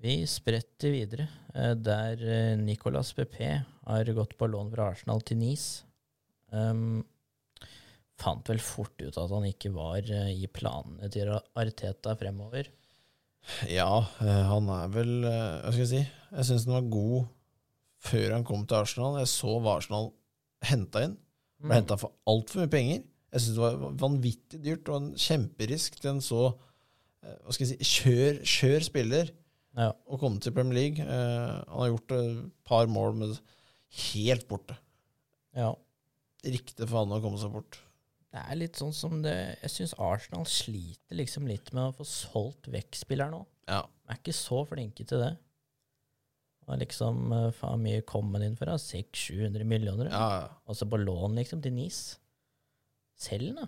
Speaker 2: Vi spretter videre, eh, der eh, Nicolas PP har gått på lån fra Arsenal til Nice. Um, fant vel fort ut at han ikke var eh, i planene til Ra- Arteta fremover.
Speaker 1: Ja, eh, han er vel eh, Hva skal jeg si? Jeg syns han var god før han kom til Arsenal. Jeg så hva Arsenal henta inn.
Speaker 2: Mm.
Speaker 1: Ble henta for altfor mye penger. Jeg syns det var vanvittig dyrt og en kjemperisk til en så eh, hva skal jeg si, skjør, skjør spiller
Speaker 2: Ja.
Speaker 1: å komme til Premier League. Eh, han har gjort et par mål, men helt borte.
Speaker 2: ja.
Speaker 1: Riktig for han å komme seg bort.
Speaker 2: Det er litt sånn som det Jeg syns Arsenal sliter liksom litt med å få solgt vekk spilleren nå.
Speaker 1: Ja.
Speaker 2: De er ikke så flinke til det. Det er liksom eh, faen mye kom han inn for? da? 600-700 millioner?
Speaker 1: ja, ja.
Speaker 2: Altså på lån, liksom, til Nis. Selg den, da.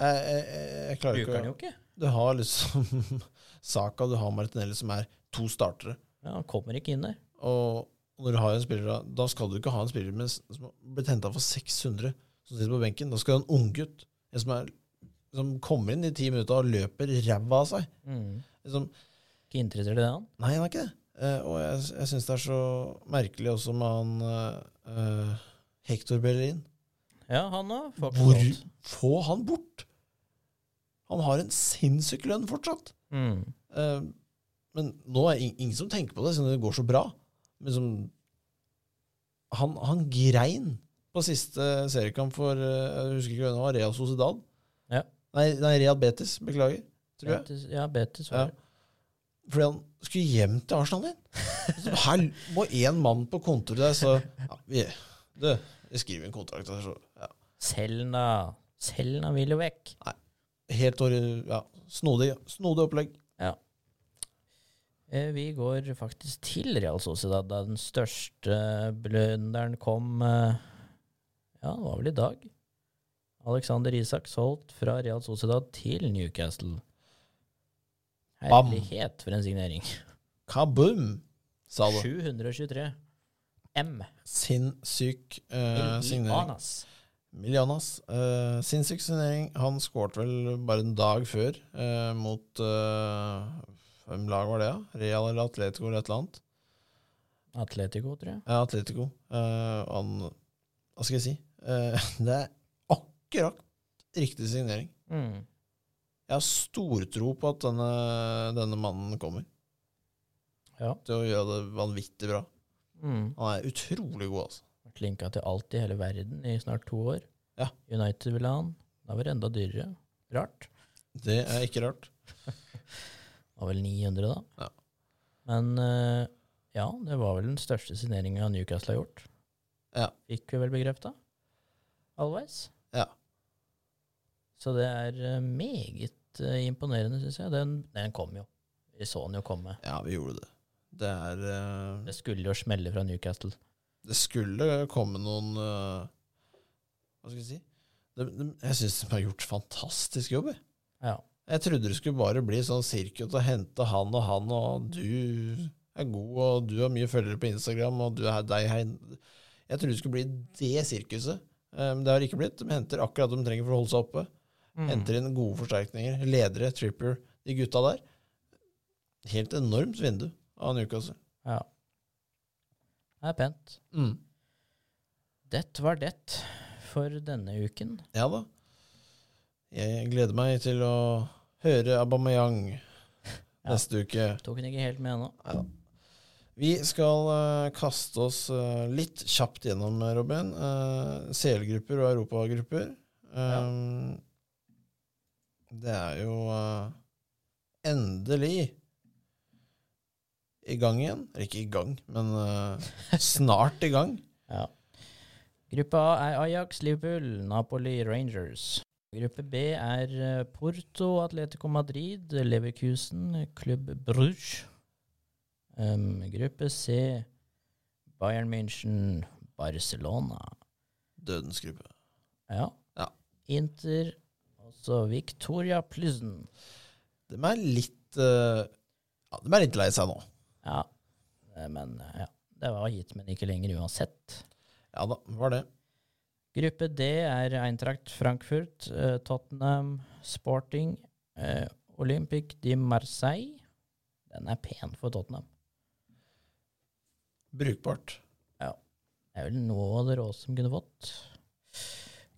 Speaker 1: Jeg, jeg, jeg- jeg klarer
Speaker 2: Bruker
Speaker 1: ikke
Speaker 2: den
Speaker 1: å
Speaker 2: jo ikke.
Speaker 1: Du har liksom Saka du har Martinelli, som er to startere.
Speaker 2: Ja, han kommer ikke inn der.
Speaker 1: Og når du har en spiller da, da skal du ikke ha en spiller med, som har blitt henta for 600, som sitter på benken. Da skal du ha en unggutt en som, er- som kommer inn i ti minutter og løper ræva av seg. Liksom,
Speaker 2: Ikke interessert i det, han.
Speaker 1: nei, han er ikke det. Eh, og jeg, jeg syns det er så merkelig også med han eh, eh, Hector Bellerin.
Speaker 2: Ja, han òg.
Speaker 1: Hvor få han bort! Han har en sinnssyk lønn fortsatt.
Speaker 2: Mm.
Speaker 1: Eh, men nå er det ingen som tenker på det, siden det går så bra. Men som, han, han grein på siste seriekamp for eh, jeg husker ikke hvem det var, Real Sociedad.
Speaker 2: Ja.
Speaker 1: Nei, nei, Real Betis, beklager. Tror jeg.
Speaker 2: Betis, ja, Betis
Speaker 1: Ja.
Speaker 2: var det.
Speaker 1: Fordi han skulle hjem til Arsenal igjen. Så her må én mann på kontoret der, så ja, vi, du, vi skriver en kontrakt. der, Så, ja.
Speaker 2: Selg den, da. Selg den, han vil jo vekk.
Speaker 1: Helt år, ja, snodig, snodig opplegg.
Speaker 2: Eh, Vi går faktisk til Real Sociedad, da den største blunderen kom eh, Ja, det var vel i dag. Alexander Isak solgt fra Real Sociedad til Newcastle.
Speaker 1: Bam.
Speaker 2: Herlighet for en signering.
Speaker 1: Kaboom, sa det.
Speaker 2: 723 M.
Speaker 1: Sinnssyk eh, signering.
Speaker 2: Anas.
Speaker 1: Milianas. Uh, sinnssyk signering. Han skårte vel bare en dag før eh, mot eh, Hvem lag var det, da? Real eller Atletico eller et eller annet?
Speaker 2: Atletico, tror jeg.
Speaker 1: Ja, Atletico. Eh, han Hva skal jeg si? Eh, det er akkurat riktig signering.
Speaker 2: Mm.
Speaker 1: Jeg har stortro på at denne, denne mannen kommer
Speaker 2: Ja.
Speaker 1: til å gjøre det vanvittig bra.
Speaker 2: Mm.
Speaker 1: Han er utrolig god, altså.
Speaker 2: Vært linka til alt i hele verden i snart to år.
Speaker 1: Ja.
Speaker 2: United ville ha han. Da var det enda dyrere. Rart.
Speaker 1: Det er ikke rart.
Speaker 2: Det var vel 900, da.
Speaker 1: Ja.
Speaker 2: Men eh, ja, det var vel den største signeringa Newcastle har gjort.
Speaker 1: Ja.
Speaker 2: Fikk vi vel bekrefta? Halvveis?
Speaker 1: Ja.
Speaker 2: Så det er eh, meget eh, imponerende, syns jeg. Den, den kom jo. Vi så den jo komme.
Speaker 1: Ja, vi gjorde det. Det er eh,
Speaker 2: Det skulle jo smelle fra Newcastle.
Speaker 1: Det skulle komme noen eh, Hva skal jeg si? De, de, jeg syns de har gjort fantastisk jobb. jeg.
Speaker 2: Ja.
Speaker 1: Jeg trodde det skulle bare bli sånn sirkus å hente han og han, og du er god, og du har mye følgere på Instagram, og du er deg her. Jeg trodde det skulle bli det sirkuset. Eh, Men det har ikke blitt. De henter akkurat det de trenger for å holde seg oppe.
Speaker 2: Mm.
Speaker 1: Henter inn gode forsterkninger. Ledere, Tripper, de gutta der. Helt enormt vindu av Newcastle.
Speaker 2: Ja. Det er pent.
Speaker 1: Mm.
Speaker 2: Det var det for denne uken.
Speaker 1: Ja da. Jeg gleder meg til å høre Aubameyang neste uke.
Speaker 2: Tok den ikke helt med ennå.
Speaker 1: Neida. Vi skal eh, kaste oss eh, litt kjapt gjennom, Robin. Eh, CL-grupper og europagrupper. Um, Det er jo eh, endelig i gang igjen. Eller ikke i gang, men eh, snart i gang.
Speaker 2: Ja. Gruppe A er Ajax, Liverpool, Napoli, Rangers. Gruppe B er eh, Porto, Atletico Madrid, Leverkusen, Klubb Bruges. Em, gruppe C Bayern München, Barcelona.
Speaker 1: Dødens gruppe.
Speaker 2: Ja.
Speaker 1: Ja.
Speaker 2: Inter, også Victoria Plüssen.
Speaker 1: De er litt eh, ja, De er litt lei seg nå.
Speaker 2: Ja. Eh, Men eh, ja. det var hit, men ikke lenger uansett.
Speaker 1: Ja da, var det.
Speaker 2: Gruppe D er Eintracht Frankfurt, eh, Tottenham, Sporting, eh, Olympic de Marseille. Den er pen for Tottenham.
Speaker 1: Brukbart.
Speaker 2: Det er vel noe av det råeste de kunne fått.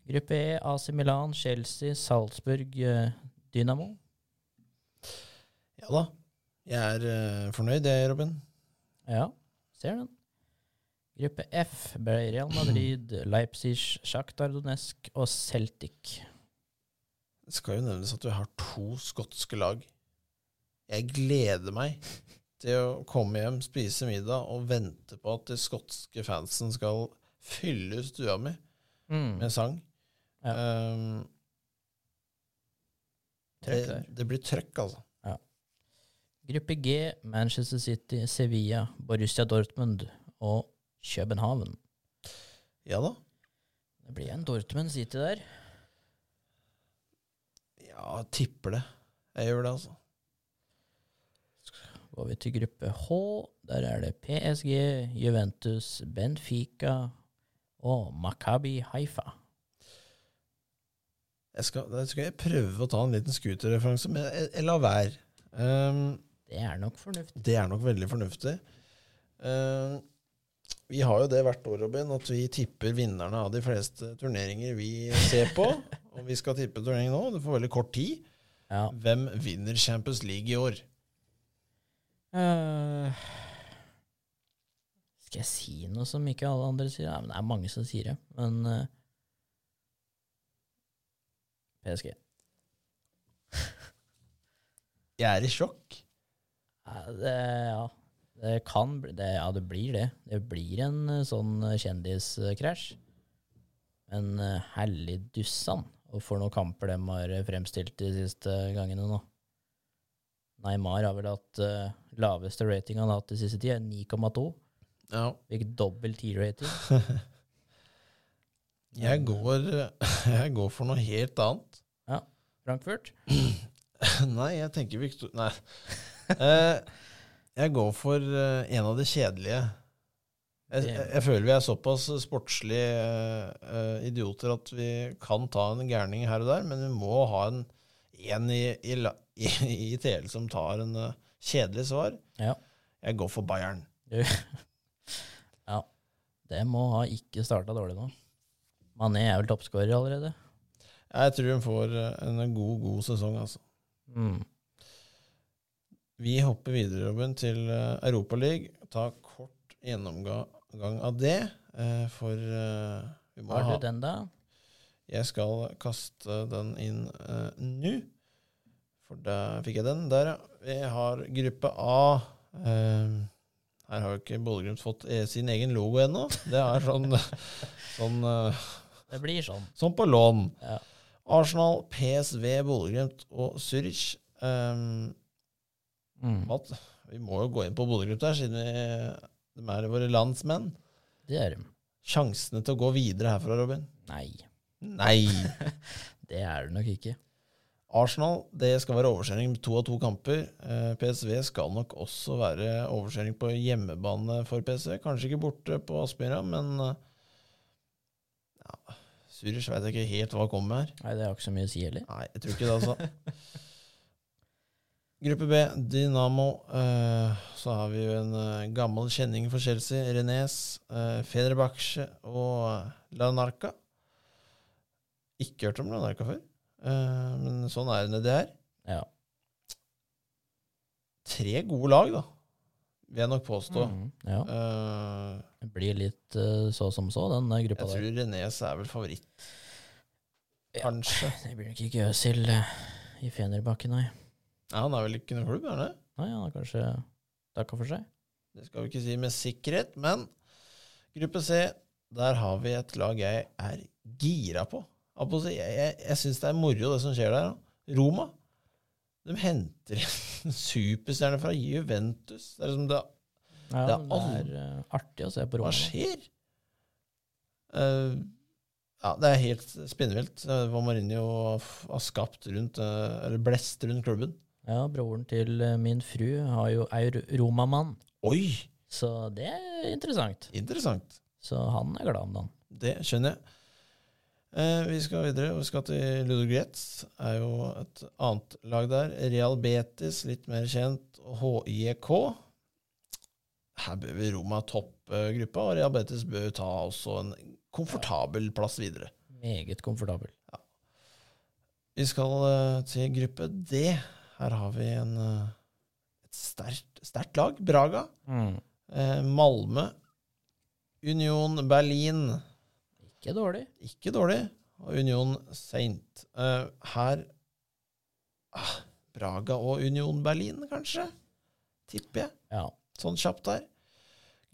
Speaker 2: Gruppe E, AC Milan, Chelsea, Salzburg, eh, Dynamo.
Speaker 1: Ja da. Jeg er eh, fornøyd, jeg, Robin.
Speaker 2: Ja, ser den. Gruppe F ble Real Madrid, Leipzig, Shakhtar Donetsk og Celtic.
Speaker 1: Det skal jo nevnes at vi har to skotske lag. Jeg gleder meg til å komme hjem, spise middag og vente på at de skotske fansen skal fylle stua mi
Speaker 2: Hmm.
Speaker 1: med sang.
Speaker 2: Ja.
Speaker 1: Ehm,
Speaker 2: Trøkk
Speaker 1: det,
Speaker 2: der.
Speaker 1: det blir trøkk, altså.
Speaker 2: Gruppe G, Manchester City, Sevilla, Borussia Dortmund og København.
Speaker 1: Ja da.
Speaker 2: Det blir en Dortmund City der.
Speaker 1: Ja, tipper det. Jeg gjør det, altså.
Speaker 2: Går vi til gruppe H, der er det PSG, Juventus, Benfica og Makabi Haifa.
Speaker 1: Jeg skal, jeg skal jeg prøve å ta en liten scooterreferanse, men jeg, jeg lar være. Ehm,
Speaker 2: Det er nok fornuftig.
Speaker 1: Det er nok veldig fornuftig. Eh, vi har jo det hvert år, Robin, at vi tipper vinnerne av de fleste turneringer vi ser på. og vi skal tippe turnering nå. Du får veldig kort tid.
Speaker 2: Ja.
Speaker 1: Hvem vinner Champions League i år?
Speaker 2: Eh, skal jeg si noe som ikke alle andre sier? Nei, men det er mange som sier det, men eh, PSG.
Speaker 1: Jeg er i sjokk.
Speaker 2: Ja, det, ja. det kan bli det, Ja, det blir det. Det blir en eh, sånn eh, kjendiskrasj. Men eh, herlig dussan. Og for noen kamper de har eh, fremstilt de siste gangene nå. Neymar har vel hatt eh, laveste rating han har hatt de siste ti, er 9,2.
Speaker 1: Ja.
Speaker 2: Fikk dobbel T-rating.
Speaker 1: Jeg
Speaker 2: eh,
Speaker 1: går, jeg går for noe helt annet.
Speaker 2: Frankfurt?
Speaker 1: Nei, jeg tenker Victor... Nei. Eh, jeg går for eh, en av de kjedelige. Jeg, jeg, jeg føler vi er såpass sportslige eh, eh, idioter at vi kan ta en gærning her og der, men vi må ha en, en i, i, la- i, i TL som tar en eh, kjedelig svar.
Speaker 2: Ja.
Speaker 1: Jeg går for Bayern.
Speaker 2: Ja. Det må ha ikke starta dårlig nå. Mané er vel toppskårer allerede.
Speaker 1: Jeg tror hun får eh, en god, god sesong, altså.
Speaker 2: Mm.
Speaker 1: Vi hopper videre, Robin, til eh, Europa League. Ta kort gjennomgang av det, eh, for eh, vi må
Speaker 2: Har
Speaker 1: ha
Speaker 2: du den, da?
Speaker 1: Jeg skal kaste den inn eh, nå. For der fikk jeg den. Der, ja. Vi har gruppe A. Eh, her har jo ikke Bodø-Glimt fått eh, sin egen logo ennå. Det er sånn, sånn, eh,
Speaker 2: Det blir sånn.
Speaker 1: sånn på lån.
Speaker 2: Ja.
Speaker 1: Arsenal, PSV, Bodø-Glimt og Zürich. Um,
Speaker 2: Mm.
Speaker 1: Matt, vi må jo gå inn på Bodø-Glimt her, siden vi, de er våre landsmenn.
Speaker 2: Det er de.
Speaker 1: Sjansene til å gå videre herfra, Robin?
Speaker 2: Nei,
Speaker 1: Nei!
Speaker 2: det er det nok ikke.
Speaker 1: Arsenal det skal være overskjæring med to av to kamper. Eh, PSV skal nok også være overskjæring på hjemmebane for PSV. Kanskje ikke borte på Aspmyra, men eh, ja, Zürich veit jeg ikke helt hva kommer med her.
Speaker 2: Nei, det har ikke så mye å si heller.
Speaker 1: Nei, jeg tror ikke det, altså. Gruppe B, Dynamo. eh, så har vi jo en eh, gammel kjenning for Chelsea, Rennes, uh, Federbache og Lanarca. Ikke hørt om Lanarca før, eh, men sånn er det det her.
Speaker 2: Ja.
Speaker 1: Tre gode lag, da, vil jeg nok påstå.
Speaker 2: Mm, ja.
Speaker 1: Eh,
Speaker 2: Det blir litt eh, så som så, den eh,
Speaker 1: jeg
Speaker 2: gruppa der.
Speaker 1: tror Rennes er vel favoritt,
Speaker 2: Ja.
Speaker 1: kanskje.
Speaker 2: Det blir nok ikke Øsil eh, i Fenerbakke, nei.
Speaker 1: Ja, han er vel ikke noen klubb, er han det?
Speaker 2: Nei, han har kanskje takka for seg.
Speaker 1: Det skal vi ikke si med sikkerhet, men gruppe C, der har vi et lag jeg er gira på. Jeg, holdt på å si, jeg, jeg, jeg syns det er moro, det som skjer der. da. Roma. De henter en superstjerne fra Juventus. Det er liksom det
Speaker 2: Ja,
Speaker 1: Det
Speaker 2: det
Speaker 1: er
Speaker 2: er,
Speaker 1: all-
Speaker 2: eh, artig å se på
Speaker 1: Hva
Speaker 2: Roma.
Speaker 1: skjer? Eh, ja, det er helt spinnvilt eh, hva Mourinho f- har skapt rundt, eh, eller blest rundt klubben.
Speaker 2: Ja, broren til eh, min fru har jo, er jo ro- romamann,
Speaker 1: Oi!
Speaker 2: så det er interessant.
Speaker 1: Interessant.
Speaker 2: Så han er glad om dagen.
Speaker 1: Det skjønner jeg. Eh, vi skal videre. Vi skal til Ludogretz. Er jo et annet lag der. Real Betis, litt mer kjent. Og HIK. Her bør vi Roma toppe eh, gruppa, og Real Betis bør ta også en komfortabel plass videre.
Speaker 2: Meget komfortabel.
Speaker 1: Vi skal eh, til gruppe D. Her har vi en, eh, et sterkt, sterkt lag. Braga. Eh, Malmö. Union Berlin.
Speaker 2: Ikke dårlig.
Speaker 1: Ikke dårlig. Og Union Saint. Eh, her ah, Braga og Union Berlin, kanskje? Tipper jeg.
Speaker 2: Ja.
Speaker 1: Sånn kjapt der.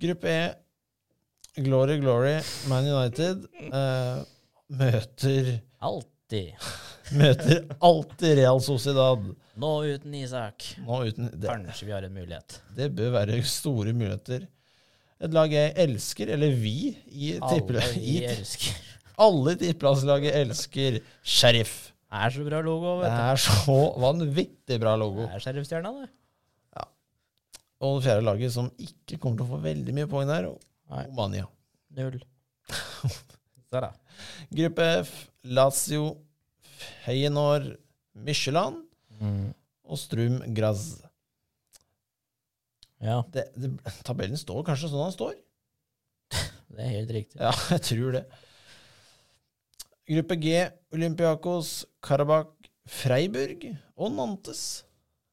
Speaker 1: Gruppe E. Glory, glory, Man United eh, møter,
Speaker 2: Alltid.
Speaker 1: møter alltid Real Sociedad.
Speaker 2: Nå uten Isak.
Speaker 1: Nå uten det,
Speaker 2: Kanskje vi har en mulighet.
Speaker 1: det bør være store muligheter. Et lag jeg elsker, eller vi i
Speaker 2: Alle vi
Speaker 1: tippelaget
Speaker 2: elsker.
Speaker 1: Alle i tippelagslaget elsker Sheriff.
Speaker 2: Er så bra logo,
Speaker 1: Det
Speaker 2: vet du.
Speaker 1: er så vanvittig bra logo.
Speaker 2: Det er Sheriffstjerna, det.
Speaker 1: Og det fjerde laget som ikke kommer til å få veldig mye poeng der,
Speaker 2: Nei.
Speaker 1: Omania.
Speaker 2: Null. Så da.
Speaker 1: Gruppe F, Lazio, Feyenoord, Michelin og Strum Graz.
Speaker 2: Ja,
Speaker 1: Det, det, tabellen står kanskje sånn den står?
Speaker 2: det er helt riktig.
Speaker 1: Ja, jeg tror det. Gruppe G, Olympiakos, Karabakh, Freiburg og Nantes.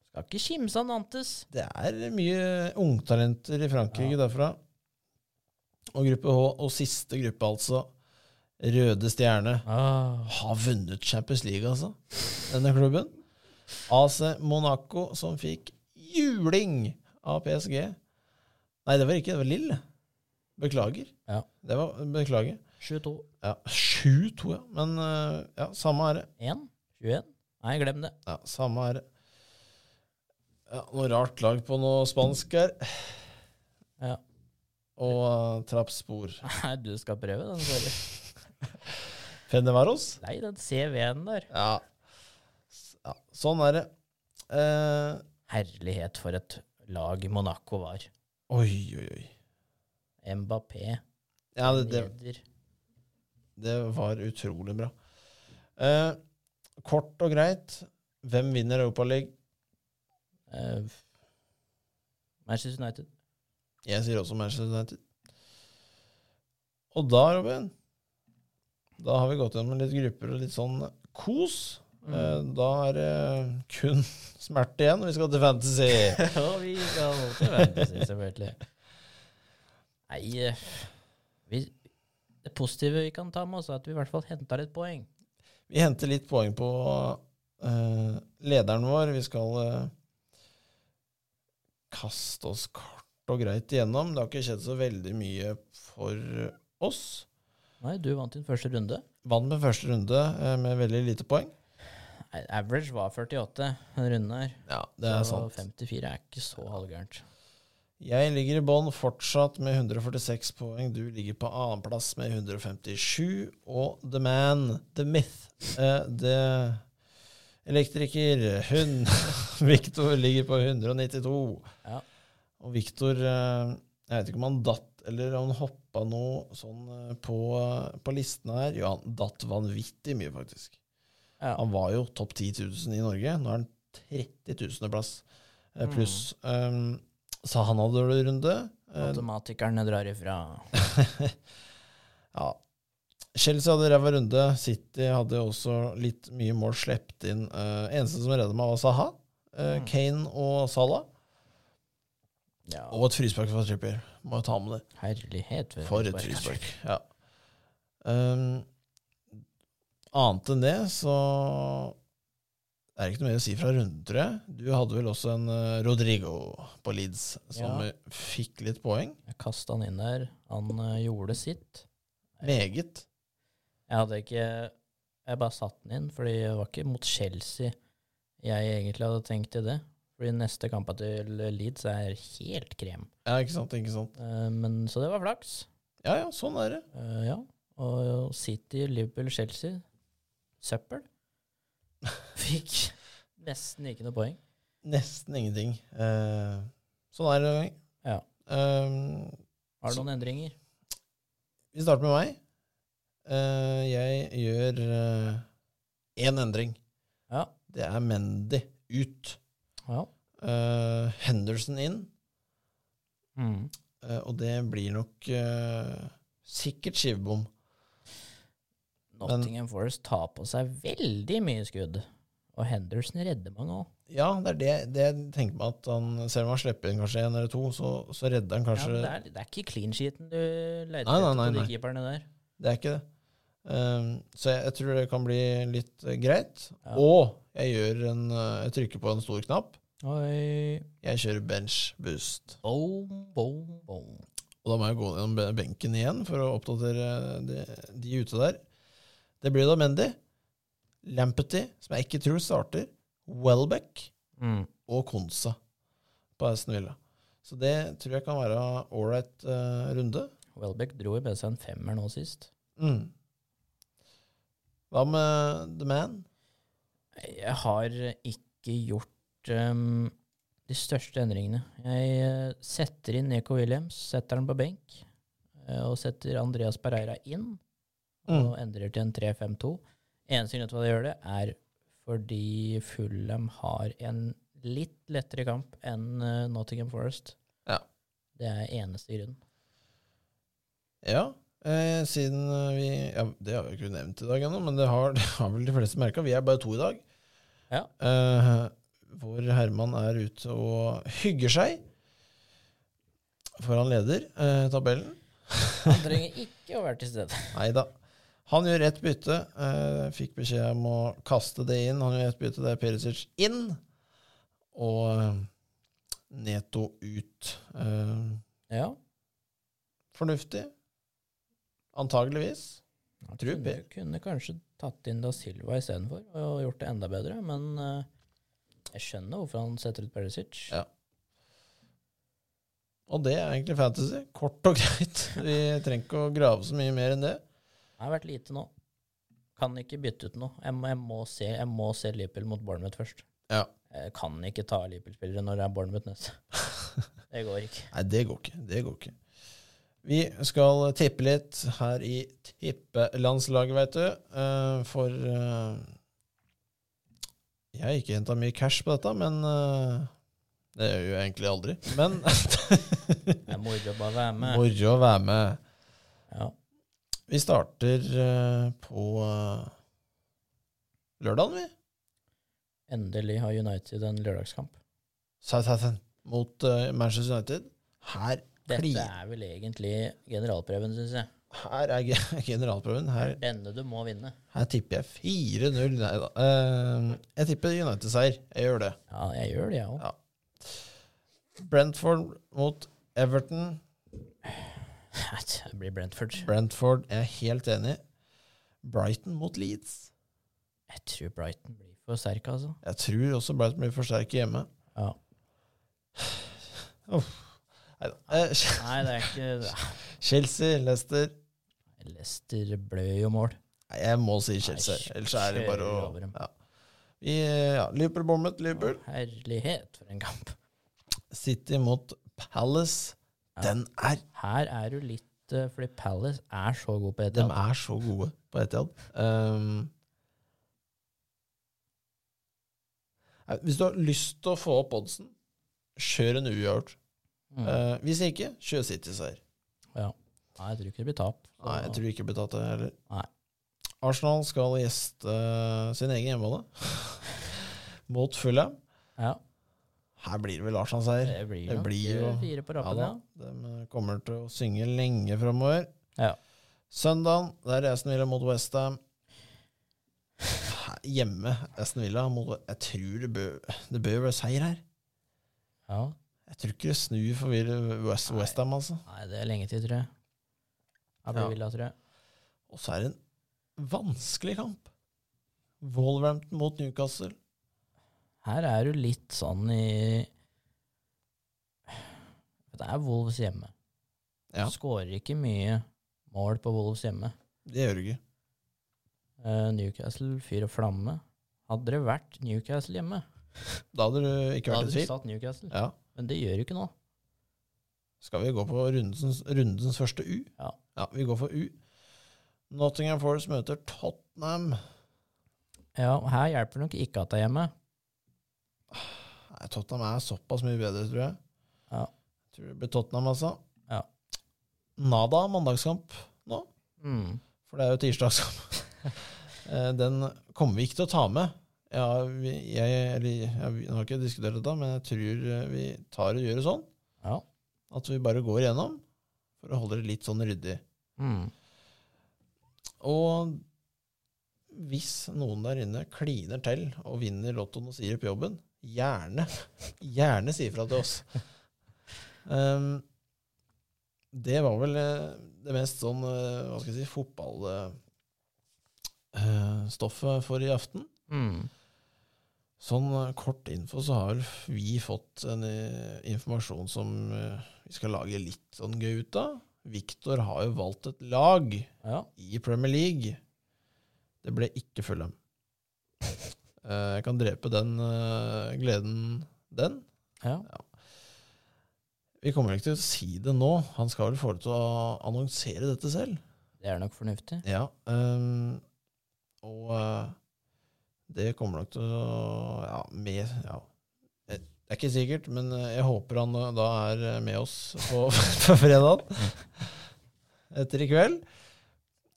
Speaker 2: Skal ikke kimse av Nantes.
Speaker 1: Det er mye ungtalenter i Frankrike derfra. Og gruppe H, og siste gruppe, altså. Røde Stjerne
Speaker 2: Ah.
Speaker 1: har vunnet Champions League, altså. Denne klubben. AC Monaco, som fikk juling av PSG. Nei, det var ikke, det var Lill. Beklager.
Speaker 2: Ja.
Speaker 1: Det var, beklager.
Speaker 2: 7-2.
Speaker 1: Ja, 7-2, ja. Men eh, ja, samme ære.
Speaker 2: 1? 21? Nei, glem det.
Speaker 1: Ja, samme ære. Ja, noe rart lag på noe spansk her.
Speaker 2: Ja.
Speaker 1: Og eh, Trappspor.
Speaker 2: Nei, du skal prøve den. Sorry.
Speaker 1: Fenevaros?
Speaker 2: Nei, den CV-en der.
Speaker 1: Ja. S- ja. Sånn er det. Eh,
Speaker 2: Herlighet for et lag Monaco var.
Speaker 1: oi, oi, oi.
Speaker 2: Mbappé
Speaker 1: Ja, det, det,
Speaker 2: leder.
Speaker 1: det var utrolig bra. Eh, kort og greit, hvem vinner Europaligaen?
Speaker 2: Eh, Manchester United.
Speaker 1: Jeg sier også Manchester United. Og da, Robin, da har vi gått gjennom litt grupper og litt sånn kos. Eh, Da er det kun smerte igjen, og vi skal til fantasy.
Speaker 2: Og vi skal til fantasy, selvfølgelig. Nei eh, vi, Det positive vi kan ta med oss, er at vi i hvert fall henta litt poeng.
Speaker 1: Vi henter litt poeng på eh, lederen vår. Vi skal eh, kaste oss kort og greit igjennom. Det har ikke skjedd så veldig mye for oss.
Speaker 2: Nei, du vant din første runde.
Speaker 1: Vant med første runde eh, med veldig lite poeng.
Speaker 2: Nei, Average var 48 denne runden her.
Speaker 1: Ja, det er
Speaker 2: så
Speaker 1: sant.
Speaker 2: 54 er ikke så halvgærent.
Speaker 1: Jeg ligger i bånn fortsatt med 146 poeng. Du ligger på annenplass med 157. Og The Man, The Myth, eh, The Elektriker, hun Victor ligger på 192.
Speaker 2: Ja.
Speaker 1: Og Victor eh, Jeg vet ikke om han datt eller om han hoppa noe sånn eh, på, på listene her. Jo, han datt vanvittig mye, faktisk.
Speaker 2: Ja.
Speaker 1: Han var jo topp 10 000 i Norge. Nå er han 30 000. plass eh, pluss. Um, så han hadde dårlig runde. Eh,
Speaker 2: Matematikerne drar ifra.
Speaker 1: ja. Chelsea hadde ræva runde. City hadde også litt mye mål sluppet inn. Eh, eneste som redda meg, var Saha. Eh,
Speaker 2: Mm.
Speaker 1: Kane og Salah.
Speaker 2: Ja,
Speaker 1: Og et frispark fra Trippier. Må jo ta med det.
Speaker 2: herlighet. vet du,
Speaker 1: For et
Speaker 2: bare-
Speaker 1: frispark. Ja. Um, annet enn det, så er det ikke noe mer å si fra runden, tror jeg. Du hadde vel også en eh, Rodrigo på Leeds som
Speaker 2: Ja.
Speaker 1: eh, fikk litt poeng.
Speaker 2: Jeg kasta han inn der. Han eh, gjorde sitt.
Speaker 1: Meget.
Speaker 2: Jeg hadde ikke Jeg bare satte den inn, fordi det var ikke mot Chelsea jeg egentlig hadde tenkt til det. Fordi neste kamp til Leeds er helt krem.
Speaker 1: Ja, ikke sant, ikke sant.
Speaker 2: Eh, Men, så det var flaks.
Speaker 1: Ja, ja, sånn er det.
Speaker 2: Eh, ja. Og City, Liverpool, Chelsea søppel. Fikk nesten ikke noe poeng.
Speaker 1: Nesten ingenting. Eh, sånn er det noen ganger.
Speaker 2: Ja.
Speaker 1: Eh,
Speaker 2: Har du noen endringer?
Speaker 1: vi starter med meg. Eh, jeg gjør én endring.
Speaker 2: Ja.
Speaker 1: Det er Mendy ut.
Speaker 2: ja.
Speaker 1: Eh, Henderson inn.
Speaker 2: Mm.
Speaker 1: Eh, og det blir nok eh, sikkert skivebom.
Speaker 2: Nottingham Forest tar på seg veldig mye skudd. Og Henderson redder mange òg.
Speaker 1: Ja, det er det, det jeg tenker meg at han, selv om han slipper inn kanskje én eller to, så, så redder han
Speaker 2: Ja,
Speaker 1: kanskje
Speaker 2: men det, er- det er ikke clean sheeten du leter
Speaker 1: Nei, nei,
Speaker 2: etter
Speaker 1: nei,
Speaker 2: på de
Speaker 1: nei.
Speaker 2: keeperne der.
Speaker 1: Det er ikke det. Um, så jeg, jeg tror det kan bli litt eh, greit.
Speaker 2: Ja.
Speaker 1: Og jeg gjør en eh, Jeg trykker på en stor knapp.
Speaker 2: Oi.
Speaker 1: Jeg kjører bench boost.
Speaker 2: Boom, boom, boom.
Speaker 1: Og da må jeg gå gjennom be- benken igjen for å oppdatere de, de ute der. Det blir da Mendy, Lampety, som jeg ikke tror starter, Welbeck
Speaker 2: Mm.
Speaker 1: og Konsa på Aston Villa. Så det tror jeg kan være ålreit eh, runde.
Speaker 2: Welbeck dro i seg en femmer nå sist.
Speaker 1: Mm. Hva med The Man?
Speaker 2: Jeg har ikke gjort ehm, de største endringene. Jeg eh, setter inn Nico Williams, setter han på benk, eh, og setter Andreas Pereira inn,
Speaker 1: Mm.
Speaker 2: og endrer til en 3-5-2. Eneste grunn til at jeg gjør det, er fordi Fulham har en litt lettere kamp enn eh, Nottingham Forest.
Speaker 1: Ja.
Speaker 2: Det er eneste grunn.
Speaker 1: Ja, eh, siden eh, vi ja, Det har vi ikke nevnt i dag ennå, men det har, det har vel de fleste merka. Vi er bare to i dag.
Speaker 2: Ja.
Speaker 1: Eh, hvor Herman er ute og hygger seg. For han leder eh, tabellen.
Speaker 2: Han trenger ikke å være til stede.
Speaker 1: Nei da. Han gjør ett bytte. Eh, fikk beskjed om å kaste det inn. Han gjør ett bytte, det er Perisic inn. Og eh, Neto ut. Eh,
Speaker 2: Ja.
Speaker 1: fornuftig. Antageligvis.
Speaker 2: Han
Speaker 1: Tror
Speaker 2: kunne,
Speaker 1: Per-
Speaker 2: kunne kanskje tatt inn da Silva istedenfor og gjort det enda bedre, men eh, jeg skjønner hvorfor han setter ut Perisic.
Speaker 1: Ja. Og det er egentlig fantasy. Kort og greit. Vi trenger ikke å grave så mye mer enn det.
Speaker 2: Det har vært lite nå. Kan ikke bytte ut noe. Jeg må, jeg må, se, jeg må se Liverpool mot Bournemouth først.
Speaker 1: Ja.
Speaker 2: Jeg kan ikke ta Liverpool-spillere når det er Bournemouth neste. Det går ikke.
Speaker 1: Nei, det går ikke. Det går ikke. Vi skal tippe litt her i tippelandslaget, veit du. Eh, for eh, Jeg har ikke henta mye cash på dette, men eh, Det gjør jeg jo egentlig aldri. Men
Speaker 2: Det er moro å bare være med.
Speaker 1: moro å være med.
Speaker 2: Ja.
Speaker 1: Vi starter eh, på eh, lørdagen, vi.
Speaker 2: Endelig har United en lørdagskamp.
Speaker 1: Southampton mot eh, Manchester United. Her, Kli-
Speaker 2: Dette er vel egentlig generalprøven, syns jeg.
Speaker 1: her er ge- generalprøven. Her,
Speaker 2: Denne du må vinne.
Speaker 1: her tipper jeg 4-0. Nei da. Eh, jeg tipper United-seier. Jeg gjør det.
Speaker 2: Ja, jeg gjør det, jeg òg.
Speaker 1: Ja. Brentford mot Everton.
Speaker 2: Det blir Brentford.
Speaker 1: Brentford, jeg er helt enig. Brighton mot Leeds.
Speaker 2: Jeg tror Brighton blir for sterk, altså.
Speaker 1: Jeg tror også Brighton blir for sterke hjemme.
Speaker 2: Ja.
Speaker 1: Uff. Neida. Eh, Ch-
Speaker 2: Nei, det er ikke
Speaker 1: Chelsea, Leicester
Speaker 2: Lester blør jo mål.
Speaker 1: Nei, Jeg må si
Speaker 2: Nei,
Speaker 1: Chelsea.
Speaker 2: kjø-
Speaker 1: Ellers er det bare å
Speaker 2: kjører over dem.
Speaker 1: ja. Vi, eh, ja, Liverpool, Bournemouth, Liverpool.
Speaker 2: Herlighet, for en kamp.
Speaker 1: City mot Palace.
Speaker 2: Ja.
Speaker 1: Den er
Speaker 2: Her er du litt eh, Fordi Palace er så god på
Speaker 1: De
Speaker 2: Etiad.
Speaker 1: er så gode på Etiad. Um, nei, hvis du har lyst til å få opp oddsen, kjør en uavgjort.
Speaker 2: Mm.
Speaker 1: Eh, hvis ikke, kjør City-seier.
Speaker 2: Nei, jeg tror ikke det blir tap. Så-
Speaker 1: Nei, jeg tror ikke det blir tatt, det heller.
Speaker 2: Ah. Nei.
Speaker 1: Arsenal skal gjeste sin egen hjemmebane mot Fulham.
Speaker 2: ja,
Speaker 1: Her blir det vel Arsenal-seier.
Speaker 2: det blir,
Speaker 1: Det
Speaker 2: nok,
Speaker 1: blir jo-
Speaker 2: eh, fire på
Speaker 1: Ja
Speaker 2: rappen,
Speaker 1: da,
Speaker 2: ja.
Speaker 1: de kommer til å synge lenge framover.
Speaker 2: Ja.
Speaker 1: Søndagen, det er Aston Villa mot Westham. Hjemme Aston Villa mot Jeg tror det bør, det bør være seier her.
Speaker 2: ja.
Speaker 1: Jeg tror ikke det snur for Villa- West,
Speaker 2: Nei.
Speaker 1: Westham, altså.
Speaker 2: Nei, det er lenge til, tror jeg. Jeg blir
Speaker 1: Ja.
Speaker 2: villa, tror jeg.
Speaker 1: Og så er det en vanskelig kamp. Wolverhampton mot Newcastle.
Speaker 2: Her er du litt sånn i Det er Wolves hjemme.
Speaker 1: Ja.
Speaker 2: Skårer ikke mye mål på Wolves hjemme.
Speaker 1: Det gjør du ikke.
Speaker 2: Eh, Newcastle fyr og flamme. Hadde det vært Newcastle hjemme,
Speaker 1: Da hadde du ikke
Speaker 2: da
Speaker 1: vært
Speaker 2: hadde
Speaker 1: i
Speaker 2: du
Speaker 1: tvil.
Speaker 2: satt Newcastle.
Speaker 1: Ja.
Speaker 2: Men det gjør du ikke nå.
Speaker 1: Skal vi gå på rundens, rundens første U?
Speaker 2: Ja.
Speaker 1: Vi går for U. Nottingham Forest møter Tottenham.
Speaker 2: Ja, Her hjelper det nok ikke at det er hjemme.
Speaker 1: Nei, Tottenham er såpass mye bedre, tror jeg.
Speaker 2: Ja.
Speaker 1: Tror det blir Tottenham, altså.
Speaker 2: Ja.
Speaker 1: Nada mandagskamp,
Speaker 2: Mm.
Speaker 1: for det er jo tirsdagskamp. Eh, Den kommer vi ikke til å ta med. Ja, vi, jeg, eller, jeg, vi har ikke diskutert dette, men jeg tror eh, vi tar og gjør det sånn.
Speaker 2: Ja.
Speaker 1: At vi bare går igjennom for å holde det litt sånn ryddig.
Speaker 2: Mm.
Speaker 1: Og hvis noen der inne kliner til og vinner lottoen og sier opp jobben, gjerne gjerne si fra til oss. Um, det var vel eh, det mest sånn eh, hva skal jeg si, fotballstoffet stoffet for i aften.
Speaker 2: Mm.
Speaker 1: Sånn eh, kort info så har vel vi fått en eh, informasjon som eh, vi skal lage litt sånn gøy ut av. Viktor har jo valgt et lag
Speaker 2: ja.
Speaker 1: i Premier League. Det ble ikke Fulham. Eh, Jeg kan drepe den eh, gleden den.
Speaker 2: Ja.
Speaker 1: Vi kommer ikke til å si det nå. Han skal vel få det til å annonsere dette selv.
Speaker 2: Det er nok fornuftig.
Speaker 1: Ja. ehm, og eh, det kommer nok til å Ja, med ja. Eh, Det er ikke sikkert, men eh, jeg håper han eh, da er eh, med oss på, på fredag. Etter i kveld.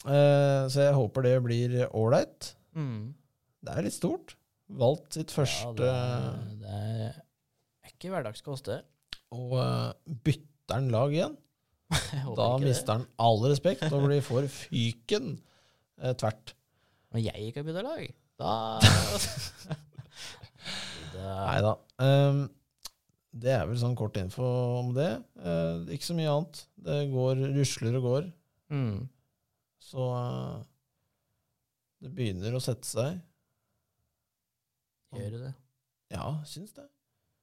Speaker 1: Eh, så jeg håper det blir ålreit.
Speaker 2: Mm.
Speaker 1: Det er litt stort. Valgt sitt første
Speaker 2: Ja, det, er, det er ikke hverdagskost, det.
Speaker 1: Og eh, bytter han lag igjen.
Speaker 2: Jeg håper
Speaker 1: Da
Speaker 2: ikke det.
Speaker 1: mister han all respekt og blir for fyken eh, tvert.
Speaker 2: Når jeg ikke har bytta lag, da
Speaker 1: Nei
Speaker 2: det,
Speaker 1: da. Ehm, det er vel sånn kort info om det. Eh, ikke så mye annet. Det går, rusler og går.
Speaker 2: mm,
Speaker 1: Så eh, det begynner å sette seg.
Speaker 2: Gjør det.
Speaker 1: Ja, syns det.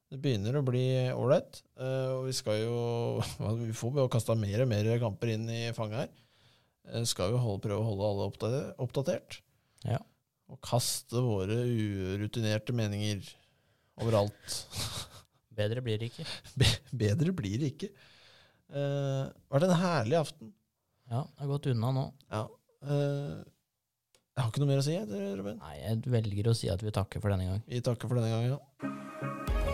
Speaker 1: Det begynner å bli ålreit. eh, Og vi skal jo Vi får jo kasta mer og mer kamper inn i fanget her. Eh, Skal jo holde, prøve å holde alle oppda- oppdatert.
Speaker 2: Ja.
Speaker 1: Og kaste våre urutinerte meninger overalt.
Speaker 2: Bedre blir det ikke.
Speaker 1: Be- Bedre blir det ikke. Uh, vært en herlig aften.
Speaker 2: Ja, det har gått unna nå.
Speaker 1: Eh, jeg har ikke noe mer å si, jeg, Ruben.
Speaker 2: Nei, jeg velger å si at vi takker for denne gang.
Speaker 1: Vi takker for denne gangen.